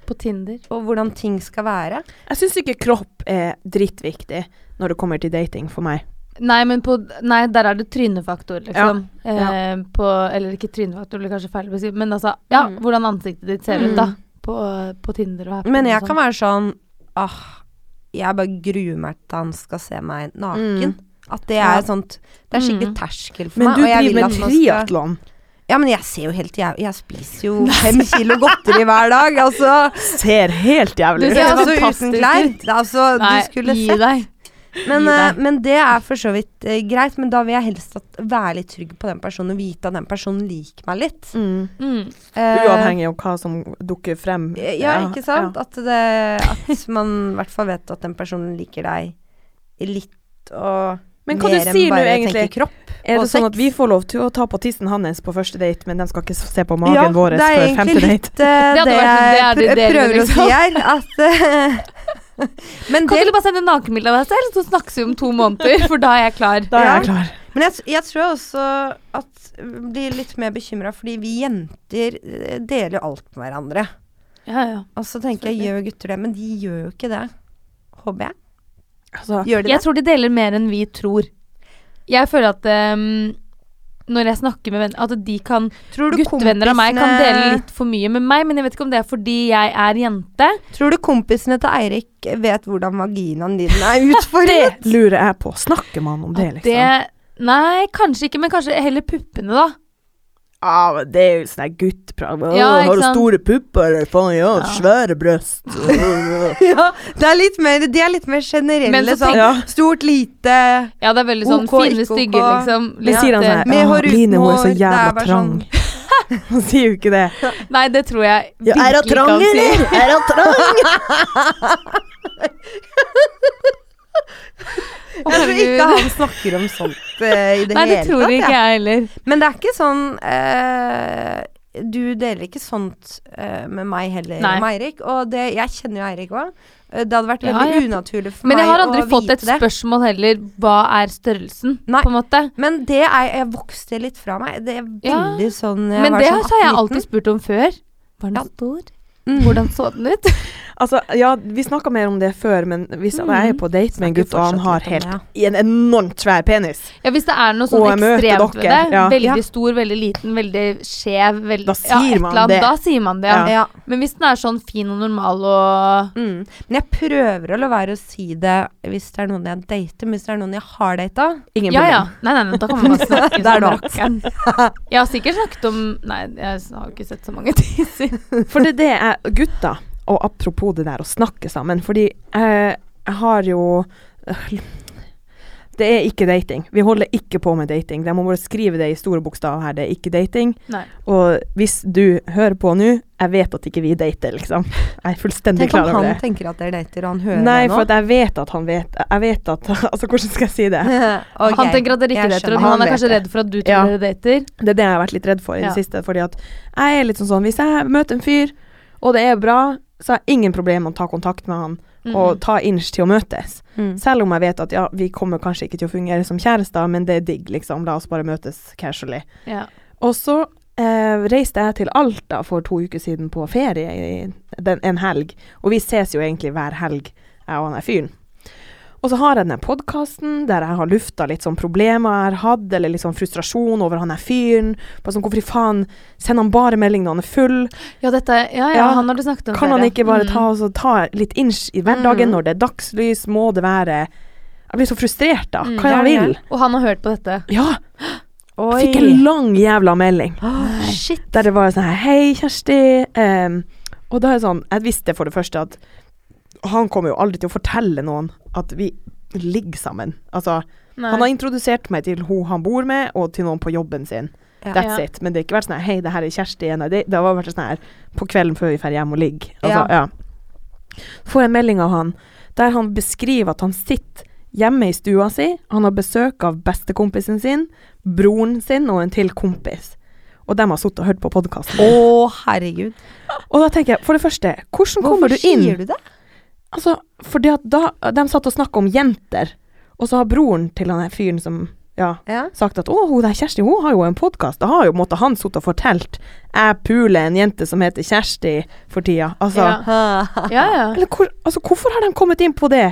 [SPEAKER 2] På Tinder.
[SPEAKER 1] Og hvordan ting skal være.
[SPEAKER 3] Jeg syns ikke kropp er drittviktig når det kommer til dating for meg.
[SPEAKER 2] Nei, men på Nei, der er det trynefaktor, liksom.
[SPEAKER 3] ja.
[SPEAKER 2] Eh, på Eller ikke trynefaktor, det blir kanskje feil å si, men altså Ja,
[SPEAKER 1] Mm.
[SPEAKER 2] hvordan ansiktet ditt ser
[SPEAKER 1] Mm.
[SPEAKER 2] ut, da. På, på Tinder og Happen
[SPEAKER 1] Men jeg
[SPEAKER 2] og
[SPEAKER 1] kan
[SPEAKER 2] sånn.
[SPEAKER 1] være sånn Åh, jeg bare gruer meg til han skal se meg naken. At det er
[SPEAKER 3] Ja.
[SPEAKER 1] et sånt Det er skikkelig
[SPEAKER 2] Mm.
[SPEAKER 1] terskel for
[SPEAKER 3] Men
[SPEAKER 1] meg.
[SPEAKER 3] du
[SPEAKER 1] og jeg
[SPEAKER 3] driver
[SPEAKER 1] vil
[SPEAKER 3] med
[SPEAKER 1] at man skal-
[SPEAKER 3] triatlon.
[SPEAKER 1] Ja, men jeg ser jo helt jæv... Jeg spiser jo fem kilo godteri hver dag, altså.
[SPEAKER 3] Ser helt jævlig
[SPEAKER 2] Du
[SPEAKER 3] ut.
[SPEAKER 2] ser-
[SPEAKER 1] Ja, altså
[SPEAKER 2] fantastisk
[SPEAKER 1] uten klær.
[SPEAKER 2] ut.
[SPEAKER 1] Det er Altså,
[SPEAKER 2] Nei,
[SPEAKER 1] du skulle
[SPEAKER 2] gi
[SPEAKER 1] sett.
[SPEAKER 2] deg.
[SPEAKER 1] Men,
[SPEAKER 2] Gi deg.
[SPEAKER 1] eh, men det er for så vidt eh, greit, men da vil jeg helst at, være litt trygg på den personen og vite at den personen liker meg litt.
[SPEAKER 3] Mm.
[SPEAKER 2] Mm.
[SPEAKER 1] Eh,
[SPEAKER 3] Uavhengig av hva som dukker frem.
[SPEAKER 1] eh, Ja, ikke sant? At, det, at man i hvert fall vet at den personen liker deg litt og
[SPEAKER 3] Men hva
[SPEAKER 1] mer
[SPEAKER 3] du
[SPEAKER 1] enn
[SPEAKER 3] sier nå,
[SPEAKER 1] bare tenker
[SPEAKER 3] egentlig?
[SPEAKER 1] kropp.
[SPEAKER 3] Er
[SPEAKER 1] og
[SPEAKER 3] det sånn at
[SPEAKER 1] sex.
[SPEAKER 3] vi får lov til å ta på tissen hans på første date, men de skal ikke se på magen vår
[SPEAKER 1] det er
[SPEAKER 3] før
[SPEAKER 1] egentlig
[SPEAKER 3] femte date?
[SPEAKER 1] litt eh, [laughs]
[SPEAKER 2] Det hadde
[SPEAKER 1] det
[SPEAKER 2] vært- det
[SPEAKER 1] jeg
[SPEAKER 2] er det
[SPEAKER 1] pr- prøver
[SPEAKER 2] dere,
[SPEAKER 1] å si her. At, [laughs] eh, men det
[SPEAKER 2] Kan ikke du bare sende nakenbilde av deg selv, så snakkes vi om to måneder, for da er jeg klar.
[SPEAKER 3] Da er
[SPEAKER 1] Ja.
[SPEAKER 3] jeg klar.
[SPEAKER 1] Men jeg, jeg tror også at jeg blir litt mer bekymra, fordi vi jenter eh, deler jo alt med hverandre.
[SPEAKER 2] Ja, ja.
[SPEAKER 1] Og så tenker jeg, gjør gutter det? Men de gjør jo ikke det. Håper jeg.
[SPEAKER 3] Altså,
[SPEAKER 1] Gjør de det?
[SPEAKER 2] Jeg tror de deler mer enn vi tror. Jeg føler at ehm, når jeg snakker med venner At de kan
[SPEAKER 1] Tror
[SPEAKER 2] Guttevenner av meg kan
[SPEAKER 1] kompisene-
[SPEAKER 2] dele litt for mye med meg, men jeg vet ikke om det er fordi jeg er jente.
[SPEAKER 1] Tror du kompisene til Eirik vet hvordan vaginaen din
[SPEAKER 2] [laughs]
[SPEAKER 1] er utformet?
[SPEAKER 3] det lurer jeg på. Snakker man om det,
[SPEAKER 2] At
[SPEAKER 3] liksom?
[SPEAKER 2] det Nei, kanskje ikke, men kanskje heller puppene, da.
[SPEAKER 3] Ja, men det er jo sånn der guttprat. Å,
[SPEAKER 2] Ja, ikke sant?
[SPEAKER 3] pupper? eller Faen, ja,
[SPEAKER 2] Ja.
[SPEAKER 3] svære bryst.
[SPEAKER 1] ja, det er litt mer, de er litt mer
[SPEAKER 2] Men
[SPEAKER 1] generelle.
[SPEAKER 2] så
[SPEAKER 1] Sånn,
[SPEAKER 3] ja.
[SPEAKER 1] Stort, lite,
[SPEAKER 2] Ja, det er veldig sånn
[SPEAKER 1] Ok,
[SPEAKER 2] fine,
[SPEAKER 1] ikke ok.
[SPEAKER 2] stygge, liksom.
[SPEAKER 3] Det
[SPEAKER 2] Litt,
[SPEAKER 3] sier han
[SPEAKER 2] eh,
[SPEAKER 3] sånn
[SPEAKER 1] med
[SPEAKER 3] her. «Åh,
[SPEAKER 1] hår, uten
[SPEAKER 3] Line, hun er så
[SPEAKER 1] hår», det er
[SPEAKER 3] jævla
[SPEAKER 1] bare
[SPEAKER 3] trang. [laughs] Han sier jo ikke det.
[SPEAKER 2] Nei, det tror jeg
[SPEAKER 3] [laughs] Ja, er hun
[SPEAKER 2] virkelig
[SPEAKER 3] trang,
[SPEAKER 2] kan si.
[SPEAKER 3] eller? Er hun trang?
[SPEAKER 1] Jeg er så tror ikke han snakker om sånt eh, i det
[SPEAKER 2] [laughs] Nei, det
[SPEAKER 1] hele
[SPEAKER 2] tror
[SPEAKER 1] tatt.
[SPEAKER 2] ikke
[SPEAKER 1] jeg.
[SPEAKER 2] jeg heller.
[SPEAKER 1] Men det er ikke sånn eh, Du deler ikke sånt eh, med meg heller,
[SPEAKER 2] Nei.
[SPEAKER 1] med Eirik. Og det, jeg kjenner jo Eirik òg. Det hadde vært
[SPEAKER 2] Ja,
[SPEAKER 1] veldig
[SPEAKER 2] jeg-
[SPEAKER 1] unaturlig for
[SPEAKER 2] Men jeg
[SPEAKER 1] meg
[SPEAKER 2] har aldri
[SPEAKER 1] å
[SPEAKER 2] fått
[SPEAKER 1] vite
[SPEAKER 2] et spørsmål heller hva er størrelsen,
[SPEAKER 1] Nei.
[SPEAKER 2] på en måte.
[SPEAKER 1] det. Men det er Jeg vokste litt fra meg. Det er
[SPEAKER 2] Ja.
[SPEAKER 1] veldig sånn jeg
[SPEAKER 2] Men
[SPEAKER 1] var
[SPEAKER 2] det
[SPEAKER 1] sånn
[SPEAKER 2] har jeg
[SPEAKER 1] 18-19.
[SPEAKER 2] alltid spurt om før. Var den
[SPEAKER 1] Ja.
[SPEAKER 2] stor?
[SPEAKER 1] Mm.
[SPEAKER 2] Hvordan så den
[SPEAKER 1] [laughs]
[SPEAKER 2] ut?
[SPEAKER 3] [laughs] Altså, ja, vi snakka mer om det før, men hvis
[SPEAKER 2] Mhm.
[SPEAKER 3] jeg er på date med en gutt, og han har
[SPEAKER 1] Fortsatt litt sånn,
[SPEAKER 3] helt
[SPEAKER 1] om det,
[SPEAKER 3] i en enormt svær penis,
[SPEAKER 2] Ja, Hvis det er noe sånn
[SPEAKER 3] Og jeg møter
[SPEAKER 2] ekstremt ved det,
[SPEAKER 3] dere, ja.
[SPEAKER 2] veldig
[SPEAKER 1] Ja.
[SPEAKER 2] stor, veldig liten, veldig skjev veldig,
[SPEAKER 3] Da sier
[SPEAKER 2] et
[SPEAKER 3] man
[SPEAKER 2] eller annet,
[SPEAKER 3] det.
[SPEAKER 2] Da sier man det, ja.
[SPEAKER 1] ja. ja.
[SPEAKER 2] Men hvis den er sånn fin og normal og
[SPEAKER 1] Mm. Men jeg prøver å la være å si det hvis det er noen jeg dater, men hvis det er noen jeg har data
[SPEAKER 3] ingen
[SPEAKER 2] Ja, ja.
[SPEAKER 3] problem.
[SPEAKER 2] Nei, nei, nei, da kan man bare
[SPEAKER 1] [laughs]
[SPEAKER 2] snakke
[SPEAKER 1] Der
[SPEAKER 2] som
[SPEAKER 1] da. [laughs]
[SPEAKER 2] rakkeren. Jeg har sikkert snakket om Nei, jeg har ikke sett så mange tisser.
[SPEAKER 1] [laughs]
[SPEAKER 3] For det er det jeg Gutter, og apropos det der å snakke sammen, fordi eh, jeg har jo Det er ikke dating. Vi holder ikke på med dating. Jeg må bare skrive det i store bokstaver her. Det er ikke dating.
[SPEAKER 2] Nei.
[SPEAKER 3] Og hvis du hører på nå, jeg vet at ikke vi dater, liksom. Jeg er fullstendig
[SPEAKER 1] Tenk om
[SPEAKER 3] klar over
[SPEAKER 1] han
[SPEAKER 3] det.
[SPEAKER 1] tenker at dere dater, og han hører
[SPEAKER 3] Nei,
[SPEAKER 1] det nå. [laughs]
[SPEAKER 3] for at jeg vet at han vet Jeg vet at [laughs] Altså, hvordan skal jeg si det?
[SPEAKER 1] [laughs] Ok,
[SPEAKER 2] Han tenker at dere ikke
[SPEAKER 1] jeg
[SPEAKER 2] dater,
[SPEAKER 1] skjønner.
[SPEAKER 2] og han er
[SPEAKER 1] vet
[SPEAKER 2] kanskje
[SPEAKER 1] det.
[SPEAKER 2] redd for at du tror
[SPEAKER 3] Ja.
[SPEAKER 2] dere dater.
[SPEAKER 3] Det er det jeg har vært litt redd for i det
[SPEAKER 2] Ja.
[SPEAKER 3] siste. Fordi at jeg er litt sånn sånn Hvis jeg møter en fyr, og det er bra, så har jeg ingen problem med å ta kontakt med han
[SPEAKER 2] Mm.
[SPEAKER 3] og ta inch til å møtes.
[SPEAKER 1] Mm.
[SPEAKER 3] Selv om jeg vet at ja, vi kommer kanskje ikke til å fungere som kjærester, men det er digg, liksom. La oss bare møtes casually.
[SPEAKER 2] Ja.
[SPEAKER 3] Og så eh, reiste jeg til Alta for to uker siden på ferie i den, en helg. Og vi ses jo egentlig hver helg, jeg og han der fyren. Og så har jeg denne podkasten der jeg har lufta litt sånn problemer jeg har hatt, eller litt sånn frustrasjon over han der fyren. Bare sånn, hvorfor i faen sender han bare melding når han er full?
[SPEAKER 2] ja, dette Ja, ja,
[SPEAKER 3] Ja.
[SPEAKER 2] han har du snakket om
[SPEAKER 3] Kan han
[SPEAKER 2] dere.
[SPEAKER 3] ikke bare
[SPEAKER 2] Mm.
[SPEAKER 3] ta, og så ta litt inch i hverdagen
[SPEAKER 1] Mm.
[SPEAKER 3] når det er dagslys? Må det være Jeg blir så frustrert, da.
[SPEAKER 2] Mm,
[SPEAKER 3] Hva er det han
[SPEAKER 1] det er
[SPEAKER 3] vil?
[SPEAKER 2] Og han har hørt på dette.
[SPEAKER 3] Ja!
[SPEAKER 1] Oi.
[SPEAKER 3] Jeg fikk en lang jævla melding
[SPEAKER 1] Åh,
[SPEAKER 2] Shit.
[SPEAKER 3] der det var sånn her Hei, Kjersti. ehm, og da er det sånn Jeg visste for det første at han kommer jo aldri til å fortelle noen at vi ligger sammen. Altså,
[SPEAKER 2] Nei.
[SPEAKER 3] han har introdusert meg til hun han bor med, og til noen på jobben sin.
[SPEAKER 1] Ja.
[SPEAKER 3] That's
[SPEAKER 2] Ja.
[SPEAKER 3] it. Men det har ikke vært sånn her, Hei, det her er Kjersti. Nei, Det, det har vært sånn her på kvelden før vi drar hjem og ligger. Altså,
[SPEAKER 1] Ja.
[SPEAKER 3] ja. Får en melding av han der han beskriver at han sitter hjemme i stua si. Han har besøk av bestekompisen sin, broren sin og en til kompis. Og de har sittet og hørt på podkasten.
[SPEAKER 1] Å, herregud.
[SPEAKER 3] Og da tenker jeg, for det første, hvordan kommer
[SPEAKER 1] Hvorfor
[SPEAKER 3] du inn?
[SPEAKER 1] sier du det?
[SPEAKER 3] Altså, fordi at da De satt og snakka om jenter, og så har broren til han her fyren som Ja,
[SPEAKER 2] [laughs]
[SPEAKER 1] Ja.
[SPEAKER 3] sagt at å, hun der Kjersti hun har jo en podkast. Da har jo måtte han sittet og fortalt. Jeg puler en jente som heter Kjersti for tida. Altså,
[SPEAKER 2] Ja. Ja, ja.
[SPEAKER 3] eller hvor, altså hvorfor har de kommet inn på det?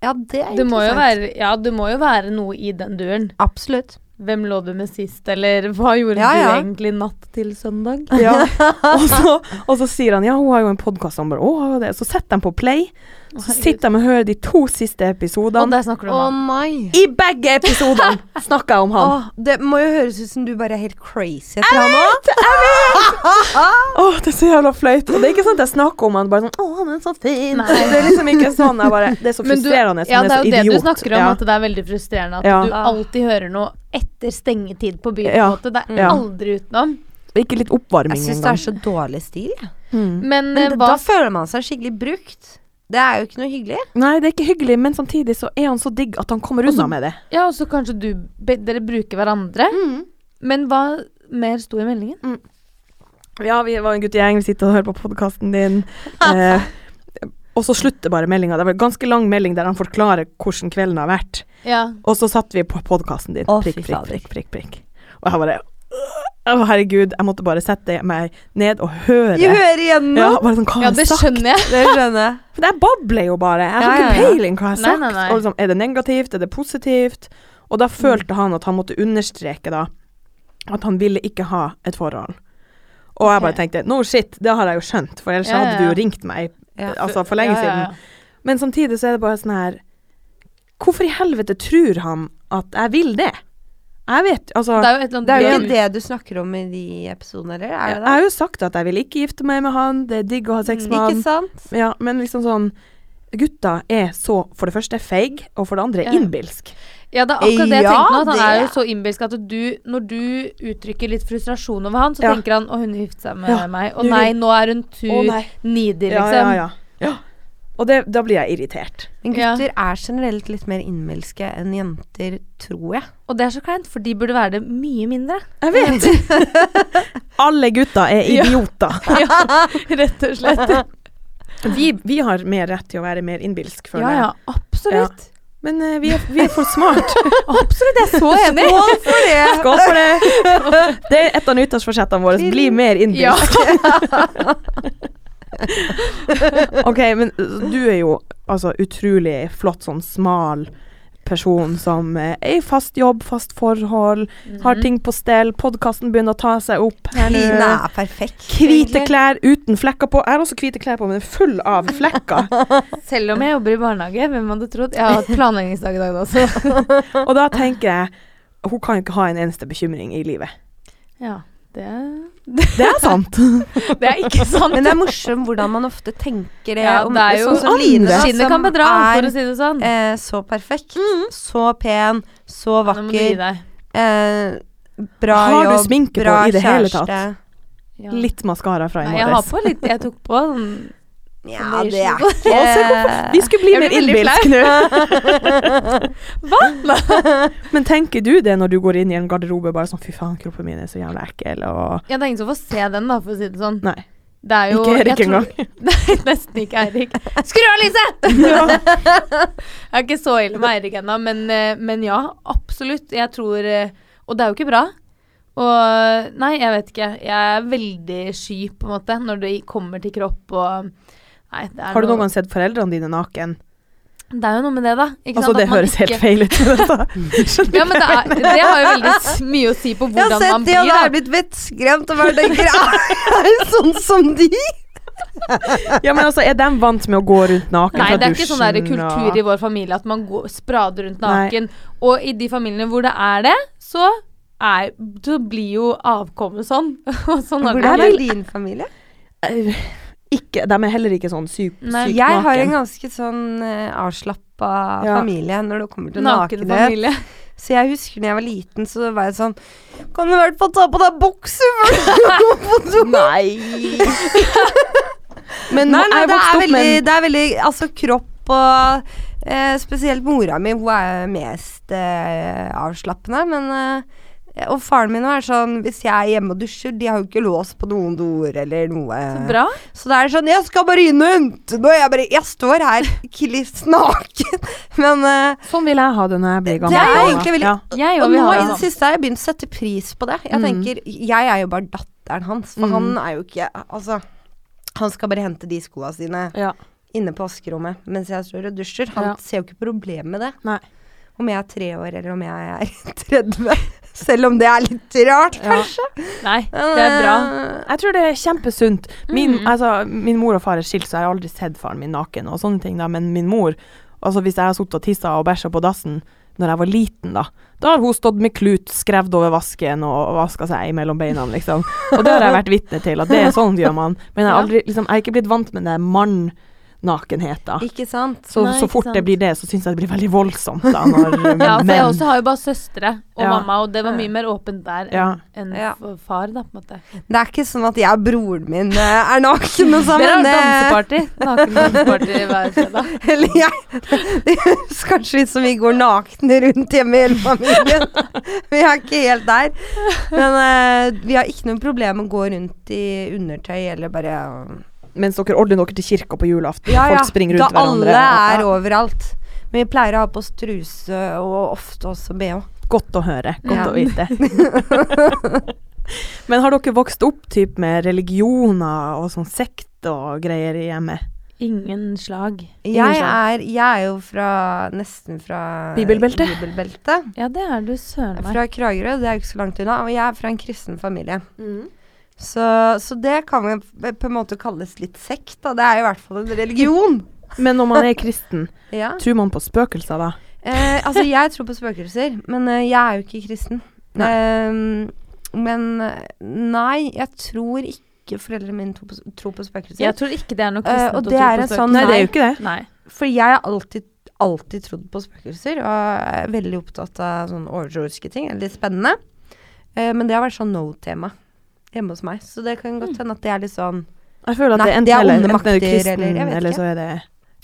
[SPEAKER 1] ja, det er
[SPEAKER 2] Det må jo
[SPEAKER 1] interessant.
[SPEAKER 2] være, ja, det må jo være noe i den duren.
[SPEAKER 1] Absolutt.
[SPEAKER 2] Hvem lå du med sist, eller hva gjorde
[SPEAKER 1] Ja, ja.
[SPEAKER 2] du egentlig natt til sånn? søndag? [laughs]
[SPEAKER 3] og, så, og så sier han ja, hun har jo en podkast. Han bare å, har hun det? Så setter de på play, så sitter de og hører de to siste
[SPEAKER 2] Og
[SPEAKER 3] episodene.
[SPEAKER 2] der snakker du
[SPEAKER 1] Å
[SPEAKER 2] om han.
[SPEAKER 1] nei.
[SPEAKER 3] I begge episodene snakker jeg om han.
[SPEAKER 1] Åh, det må jo høres ut som du bare er helt crazy etter han nå.
[SPEAKER 3] Åh, det er så jævla flaut. Og det er ikke sånn at jeg snakker om han bare sånn Å, han er så fin.
[SPEAKER 2] Nei.
[SPEAKER 3] Det er liksom ikke sånn. Jeg bare, det er så
[SPEAKER 2] Men du-
[SPEAKER 3] frustrerende.
[SPEAKER 2] Ja, det er jo
[SPEAKER 3] så
[SPEAKER 2] det
[SPEAKER 3] idiot.
[SPEAKER 2] du snakker om,
[SPEAKER 3] Ja.
[SPEAKER 2] at det er veldig frustrerende at
[SPEAKER 3] Ja.
[SPEAKER 2] du alltid hører noe etter stengetid på byen.
[SPEAKER 3] Ja.
[SPEAKER 2] på en måte. Det er
[SPEAKER 3] Ja.
[SPEAKER 2] aldri utenom.
[SPEAKER 3] Ikke litt oppvarming
[SPEAKER 1] Jeg syns det er så dårlig stil. jeg.
[SPEAKER 3] Mm.
[SPEAKER 2] Men,
[SPEAKER 1] Men
[SPEAKER 2] eh,
[SPEAKER 1] det,
[SPEAKER 2] hva
[SPEAKER 1] da føler man seg skikkelig brukt. Det er jo ikke noe hyggelig.
[SPEAKER 3] Nei, det er ikke hyggelig, men samtidig så er han så digg at han kommer unna med det.
[SPEAKER 2] Ja, og så kanskje du be, Dere bruker hverandre.
[SPEAKER 3] Mm.
[SPEAKER 2] Men hva mer sto i meldingen?
[SPEAKER 3] Ja, vi var en guttegjeng, vi sitter og hører på podkasten din. Eh, og så slutter bare meldinga. Det var en ganske lang melding der han forklarer hvordan kvelden har vært.
[SPEAKER 2] Ja.
[SPEAKER 3] Og så satt vi på podkasten din.
[SPEAKER 1] Å,
[SPEAKER 3] prikk,
[SPEAKER 1] fy
[SPEAKER 3] prikk,
[SPEAKER 1] fader.
[SPEAKER 3] prikk, prikk, prikk. Og jeg bare Å, herregud. Jeg måtte bare sette meg ned og høre.
[SPEAKER 1] Vi hører igjennom!
[SPEAKER 3] Ja, bare sånn, hva
[SPEAKER 2] ja,
[SPEAKER 3] har
[SPEAKER 2] det
[SPEAKER 3] han sagt?
[SPEAKER 2] skjønner jeg.
[SPEAKER 1] Det skjønner jeg.
[SPEAKER 3] For jeg babler jo bare. Jeg
[SPEAKER 1] Ja,
[SPEAKER 3] har
[SPEAKER 1] ja,
[SPEAKER 3] ikke
[SPEAKER 1] ja.
[SPEAKER 3] peiling hva jeg har
[SPEAKER 2] Nei,
[SPEAKER 3] sagt.
[SPEAKER 2] nei, nei.
[SPEAKER 3] Og liksom, er det negativt? Er det positivt? Og da følte han at han måtte understreke da at han ville ikke ha et forhold. Og jeg bare
[SPEAKER 2] Ok.
[SPEAKER 3] tenkte no shit, det har jeg jo skjønt, for ellers
[SPEAKER 2] Ja, ja,
[SPEAKER 3] hadde du
[SPEAKER 2] ja.
[SPEAKER 3] jo ringt meg
[SPEAKER 1] Ja.
[SPEAKER 3] altså, for lenge
[SPEAKER 2] Ja, ja, ja.
[SPEAKER 3] siden. Men samtidig så er det bare sånn her Hvorfor i helvete tror han at jeg vil det? Jeg vet altså
[SPEAKER 2] Det er jo et
[SPEAKER 1] Det er
[SPEAKER 2] eller
[SPEAKER 1] jo
[SPEAKER 2] annet
[SPEAKER 1] ikke det du snakker om i de episodene, eller? Er
[SPEAKER 3] Jeg
[SPEAKER 1] det det?
[SPEAKER 3] har jo sagt at jeg vil ikke gifte meg med han, det er digg å ha
[SPEAKER 2] Mm.
[SPEAKER 3] sex med han.
[SPEAKER 1] Ikke sant?
[SPEAKER 3] Ja, men liksom sånn Gutta er så, for det første, feig, og for det andre
[SPEAKER 2] Ja.
[SPEAKER 3] innbilsk.
[SPEAKER 2] Ja, det er akkurat det jeg
[SPEAKER 1] Ja,
[SPEAKER 2] tenkte nå. At han
[SPEAKER 1] det-
[SPEAKER 2] er jo så innbilsk at du, når du uttrykker litt frustrasjon over han, så
[SPEAKER 3] Ja.
[SPEAKER 2] tenker han å, hun gifter seg med
[SPEAKER 3] Ja,
[SPEAKER 2] meg. Å
[SPEAKER 3] du
[SPEAKER 2] nei,
[SPEAKER 3] vil-
[SPEAKER 2] nå er hun too needy, liksom.
[SPEAKER 3] Ja, ja, ja. Og det, da blir jeg irritert.
[SPEAKER 1] Men
[SPEAKER 2] Ja.
[SPEAKER 1] gutter er generelt litt mer innmelske enn jenter, tror jeg.
[SPEAKER 2] Og det er så kleint, for de burde være det mye mindre.
[SPEAKER 3] Jeg vet!
[SPEAKER 2] [laughs]
[SPEAKER 3] Alle gutta er
[SPEAKER 2] Ja.
[SPEAKER 3] idioter.
[SPEAKER 2] ja, rett og slett.
[SPEAKER 3] Vi, vi har mer rett til å være mer innbilsk, føler
[SPEAKER 2] Ja, ja, absolutt.
[SPEAKER 3] jeg. Men eh, vi, er, vi er for smart.
[SPEAKER 2] Absolutt, jeg er så enig. [laughs]
[SPEAKER 1] Skål for det!
[SPEAKER 3] Skål for det! Det er et av nyttårsforsettene våre. Bli mer
[SPEAKER 2] Ja.
[SPEAKER 3] innbilsk. Ok, men du er jo altså utrolig flott sånn smal person som eh, er i fast jobb, fast forhold,
[SPEAKER 2] Mhm.
[SPEAKER 3] har ting på stell. Podkasten begynner å ta seg opp. her nå.
[SPEAKER 1] Line er perfekt.
[SPEAKER 3] Hvite klær uten flekker på. Jeg har også hvite klær på, men er full av flekker.
[SPEAKER 2] [laughs] Selv om jeg jobber i barnehage, hvem hadde trodd? Jeg har hatt planleggingsdag i dag også.
[SPEAKER 3] Og da tenker jeg hun kan jo ikke ha en eneste bekymring i livet.
[SPEAKER 2] Ja, det,
[SPEAKER 3] Det er
[SPEAKER 2] [laughs]
[SPEAKER 3] sant.
[SPEAKER 2] det er ikke sant.
[SPEAKER 1] Men det er morsomt hvordan man ofte tenker det.
[SPEAKER 2] Ja,
[SPEAKER 1] om-
[SPEAKER 2] det er jo-
[SPEAKER 1] sånn som
[SPEAKER 3] andre
[SPEAKER 1] Line, da,
[SPEAKER 2] Skinnet kan
[SPEAKER 1] som
[SPEAKER 2] bedra,
[SPEAKER 1] er
[SPEAKER 2] for å si det sånn.
[SPEAKER 1] eh, så perfekt, så pen, så
[SPEAKER 2] Nå må du gi
[SPEAKER 1] vakker.
[SPEAKER 2] deg.
[SPEAKER 1] Eh, bra
[SPEAKER 3] Har du
[SPEAKER 1] jobb,
[SPEAKER 3] sminke
[SPEAKER 1] bra
[SPEAKER 3] på i det hele
[SPEAKER 1] kjæreste.
[SPEAKER 3] tatt?
[SPEAKER 2] Ja.
[SPEAKER 3] Litt maskara fra i
[SPEAKER 2] Nei, jeg har
[SPEAKER 3] morges.
[SPEAKER 2] på litt Jeg tok på sånn
[SPEAKER 1] [laughs] Ja, det er ikke
[SPEAKER 3] Å,
[SPEAKER 1] [laughs]
[SPEAKER 3] se Vi skulle bli
[SPEAKER 2] Jeg
[SPEAKER 3] mer
[SPEAKER 2] blir veldig
[SPEAKER 3] innbilsk nå. Men tenker du det når du går inn i en garderobe bare sånn fy faen, kroppen min er så jævla ekkel
[SPEAKER 2] [laughs]
[SPEAKER 3] og
[SPEAKER 2] Ja, det er ingen som får se den, da, for å si det sånn.
[SPEAKER 3] Nei.
[SPEAKER 2] Det er jo
[SPEAKER 3] Ikke Erik
[SPEAKER 2] jeg tror-
[SPEAKER 3] engang.
[SPEAKER 2] [laughs] Nei, nesten ikke Eirik. Skru av lyset!
[SPEAKER 3] Ja.
[SPEAKER 2] Jeg er ikke så ille med Eirik ennå, men, eh, men ja, absolutt. Jeg tror eh, Og det er jo ikke bra. Og nei, jeg vet ikke. Jeg er veldig sky, på en måte, når det kommer til kropp og Nei, det er
[SPEAKER 3] Har du noen
[SPEAKER 2] noe
[SPEAKER 3] gang sett foreldrene dine naken?
[SPEAKER 2] Det er jo noe med det, da. Ikke
[SPEAKER 3] Altså,
[SPEAKER 2] sant?
[SPEAKER 3] det
[SPEAKER 2] At man
[SPEAKER 3] høres helt
[SPEAKER 2] ikke-
[SPEAKER 3] feil ut. altså,
[SPEAKER 2] [laughs]
[SPEAKER 3] [laughs] Skjønner
[SPEAKER 2] Ja, men det, er, det har jo veldig s- mye å si på
[SPEAKER 1] Jeg
[SPEAKER 2] hvordan
[SPEAKER 1] har sett
[SPEAKER 2] man
[SPEAKER 1] de,
[SPEAKER 2] blir.
[SPEAKER 1] og da
[SPEAKER 2] da.
[SPEAKER 1] har jeg blitt vettskremt og bare tenker [laughs] Er det sånn som de?
[SPEAKER 3] du? Ja, men altså, er de vant med å gå rundt naken
[SPEAKER 2] Nei,
[SPEAKER 3] fra
[SPEAKER 2] det er ikke
[SPEAKER 3] dusjen?
[SPEAKER 2] sånn der kultur i
[SPEAKER 3] og-
[SPEAKER 2] vår familie at man går, sprader rundt naken. Og i de familiene hvor det er det, så, er, så blir jo avkommet sånn. [laughs] Og sånn har det
[SPEAKER 1] Hvordan er
[SPEAKER 2] vært.
[SPEAKER 1] din familie?
[SPEAKER 3] Eh, Ikke, de er heller ikke sånn syk,
[SPEAKER 2] Nei.
[SPEAKER 3] sykt
[SPEAKER 1] Jeg har en
[SPEAKER 3] naken.
[SPEAKER 1] ganske sånn eh, avslappa
[SPEAKER 3] Ja.
[SPEAKER 1] familie når det kommer til
[SPEAKER 2] Naken
[SPEAKER 1] nakenhet.
[SPEAKER 2] familie.
[SPEAKER 1] Så jeg husker da jeg var liten, så var jeg sånn Kan du i hvert fall ta på deg bokser [laughs] før du går på do?
[SPEAKER 2] [laughs]
[SPEAKER 3] Nei. Men
[SPEAKER 1] Nei, nei,
[SPEAKER 3] jeg
[SPEAKER 1] det er
[SPEAKER 3] vokste opp
[SPEAKER 1] veldig,
[SPEAKER 3] med en
[SPEAKER 1] det er veldig Altså, kropp og eh, Spesielt mora mi, hun er jo mest eh, avslappende, men eh, Og faren min er sånn Hvis jeg er hjemme og dusjer, de har jo ikke lås på noen doer eller noe.
[SPEAKER 2] Så bra.
[SPEAKER 1] Så det er sånn Jeg skal bare inn og hente noe. Jeg bare Jeg står her kliss naken. [laughs] Men eh,
[SPEAKER 3] Sånn vil jeg ha det når jeg blir gammel.
[SPEAKER 1] Det er
[SPEAKER 3] Anna.
[SPEAKER 1] egentlig veldig-
[SPEAKER 3] ja.
[SPEAKER 2] Jeg
[SPEAKER 1] Og
[SPEAKER 2] og vi
[SPEAKER 1] nå
[SPEAKER 2] har
[SPEAKER 1] i
[SPEAKER 2] det
[SPEAKER 1] det
[SPEAKER 2] sånn.
[SPEAKER 1] siste har jeg begynt å sette pris på det. Jeg tenker Jeg er jo bare datteren hans, for han er jo ikke Altså han skal bare hente de skoa sine
[SPEAKER 3] Ja.
[SPEAKER 1] inne på vaskerommet mens jeg står og dusjer. Han
[SPEAKER 3] Ja.
[SPEAKER 1] ser jo ikke problem med det.
[SPEAKER 3] Nei.
[SPEAKER 1] Om jeg er tre år eller om jeg er [laughs] 30. Selv om det er litt rart, kanskje.
[SPEAKER 2] Nei, det er bra. Mm.
[SPEAKER 3] Jeg tror det er kjempesunt. Min, altså, min mor og far er skilt, så jeg har aldri sett faren min naken og sånne ting, da. Men min mor altså Hvis jeg har sittet og tissa og bæsja på dassen når jeg var liten, da Da har hun stått med klut skrevet over vasken og vaska seg mellom beina, liksom. Og det har jeg vært vitne til, at det er sånn gjør man. Men jeg har, aldri, liksom, jeg har ikke blitt vant med det mannnakenheta.
[SPEAKER 1] Ikke sant?
[SPEAKER 3] Så,
[SPEAKER 2] Nei,
[SPEAKER 3] så
[SPEAKER 2] ikke
[SPEAKER 3] fort det
[SPEAKER 2] sant.
[SPEAKER 3] blir det, så syns jeg det blir veldig voldsomt, da, når
[SPEAKER 2] [laughs] Ja, for jeg
[SPEAKER 3] menn
[SPEAKER 2] også har jo bare søstre og
[SPEAKER 3] Ja.
[SPEAKER 2] mamma, og det var mye mer åpent der
[SPEAKER 3] Ja.
[SPEAKER 2] enn
[SPEAKER 1] Ja.
[SPEAKER 2] for far, da, på en måte.
[SPEAKER 1] Det er ikke sånn at jeg og broren min eh, er nakne
[SPEAKER 2] Dere
[SPEAKER 1] sammen.
[SPEAKER 2] har
[SPEAKER 1] eh,
[SPEAKER 2] danseparty.
[SPEAKER 1] [laughs]
[SPEAKER 2] Nakendanseparty hver fredag.
[SPEAKER 1] Eller jeg Det høres kanskje ut som vi går nakne rundt hjemme i hele familien. Vi er ikke helt der. Men eh, vi har ikke noe problem med å gå rundt i undertøy eller bare
[SPEAKER 3] Mens dere ordner dere til kirka på julaften,
[SPEAKER 1] Ja, ja.
[SPEAKER 3] folk springer
[SPEAKER 1] da
[SPEAKER 3] rundt hverandre.
[SPEAKER 1] alle
[SPEAKER 3] og-
[SPEAKER 1] er overalt. Men vi pleier å ha på oss truse og ofte også bh.
[SPEAKER 3] Godt å høre. Godt
[SPEAKER 1] Ja.
[SPEAKER 3] å
[SPEAKER 1] [laughs]
[SPEAKER 3] vite. Men har dere vokst opp typ med religioner og sånn sekt og greier i hjemmet?
[SPEAKER 2] Ingen slag.
[SPEAKER 1] Jeg
[SPEAKER 3] sånn.
[SPEAKER 1] er, jeg er jo fra nesten fra
[SPEAKER 3] Bibelbeltet.
[SPEAKER 1] Bibelbeltet.
[SPEAKER 2] Ja, det er du søren meg.
[SPEAKER 1] Fra Kragerø, det er jo ikke så langt unna. Og jeg er fra en kristen familie. Så, så det kan jo p- på en måte kalles litt sekt, da. Det er jo i hvert fall en religion.
[SPEAKER 3] Men
[SPEAKER 1] [laughs]
[SPEAKER 3] når man er kristen,
[SPEAKER 1] Ja.
[SPEAKER 3] tror man på spøkelser da?
[SPEAKER 1] Eh, altså, jeg tror på spøkelser, men eh, jeg er jo ikke kristen.
[SPEAKER 3] Nei.
[SPEAKER 1] Ehm, men eh, nei, jeg tror ikke foreldrene mine tror på, s- tror på spøkelser.
[SPEAKER 2] Jeg tror ikke det er noe
[SPEAKER 1] Eh,
[SPEAKER 2] kristent
[SPEAKER 1] og
[SPEAKER 2] å
[SPEAKER 1] det
[SPEAKER 2] tro
[SPEAKER 1] er
[SPEAKER 2] på
[SPEAKER 1] en
[SPEAKER 2] spøkelser.
[SPEAKER 1] sånn-
[SPEAKER 3] Nei, det er jo ikke det.
[SPEAKER 2] Nei.
[SPEAKER 1] For jeg har alltid, alltid trodd på spøkelser, og er veldig opptatt av sånne overtroiske ting. Litt spennende. Eh, men det har vært sånn no-tema hjemme hos meg, så det kan godt hende at det er litt sånn
[SPEAKER 3] Jeg føler at
[SPEAKER 1] Nei,
[SPEAKER 3] det er
[SPEAKER 1] det
[SPEAKER 3] enten
[SPEAKER 1] er
[SPEAKER 3] eller,
[SPEAKER 1] onde
[SPEAKER 3] enten er du
[SPEAKER 1] makter,
[SPEAKER 3] kristen,
[SPEAKER 1] eller- jeg
[SPEAKER 3] eller,
[SPEAKER 1] vet ikke.
[SPEAKER 3] så er det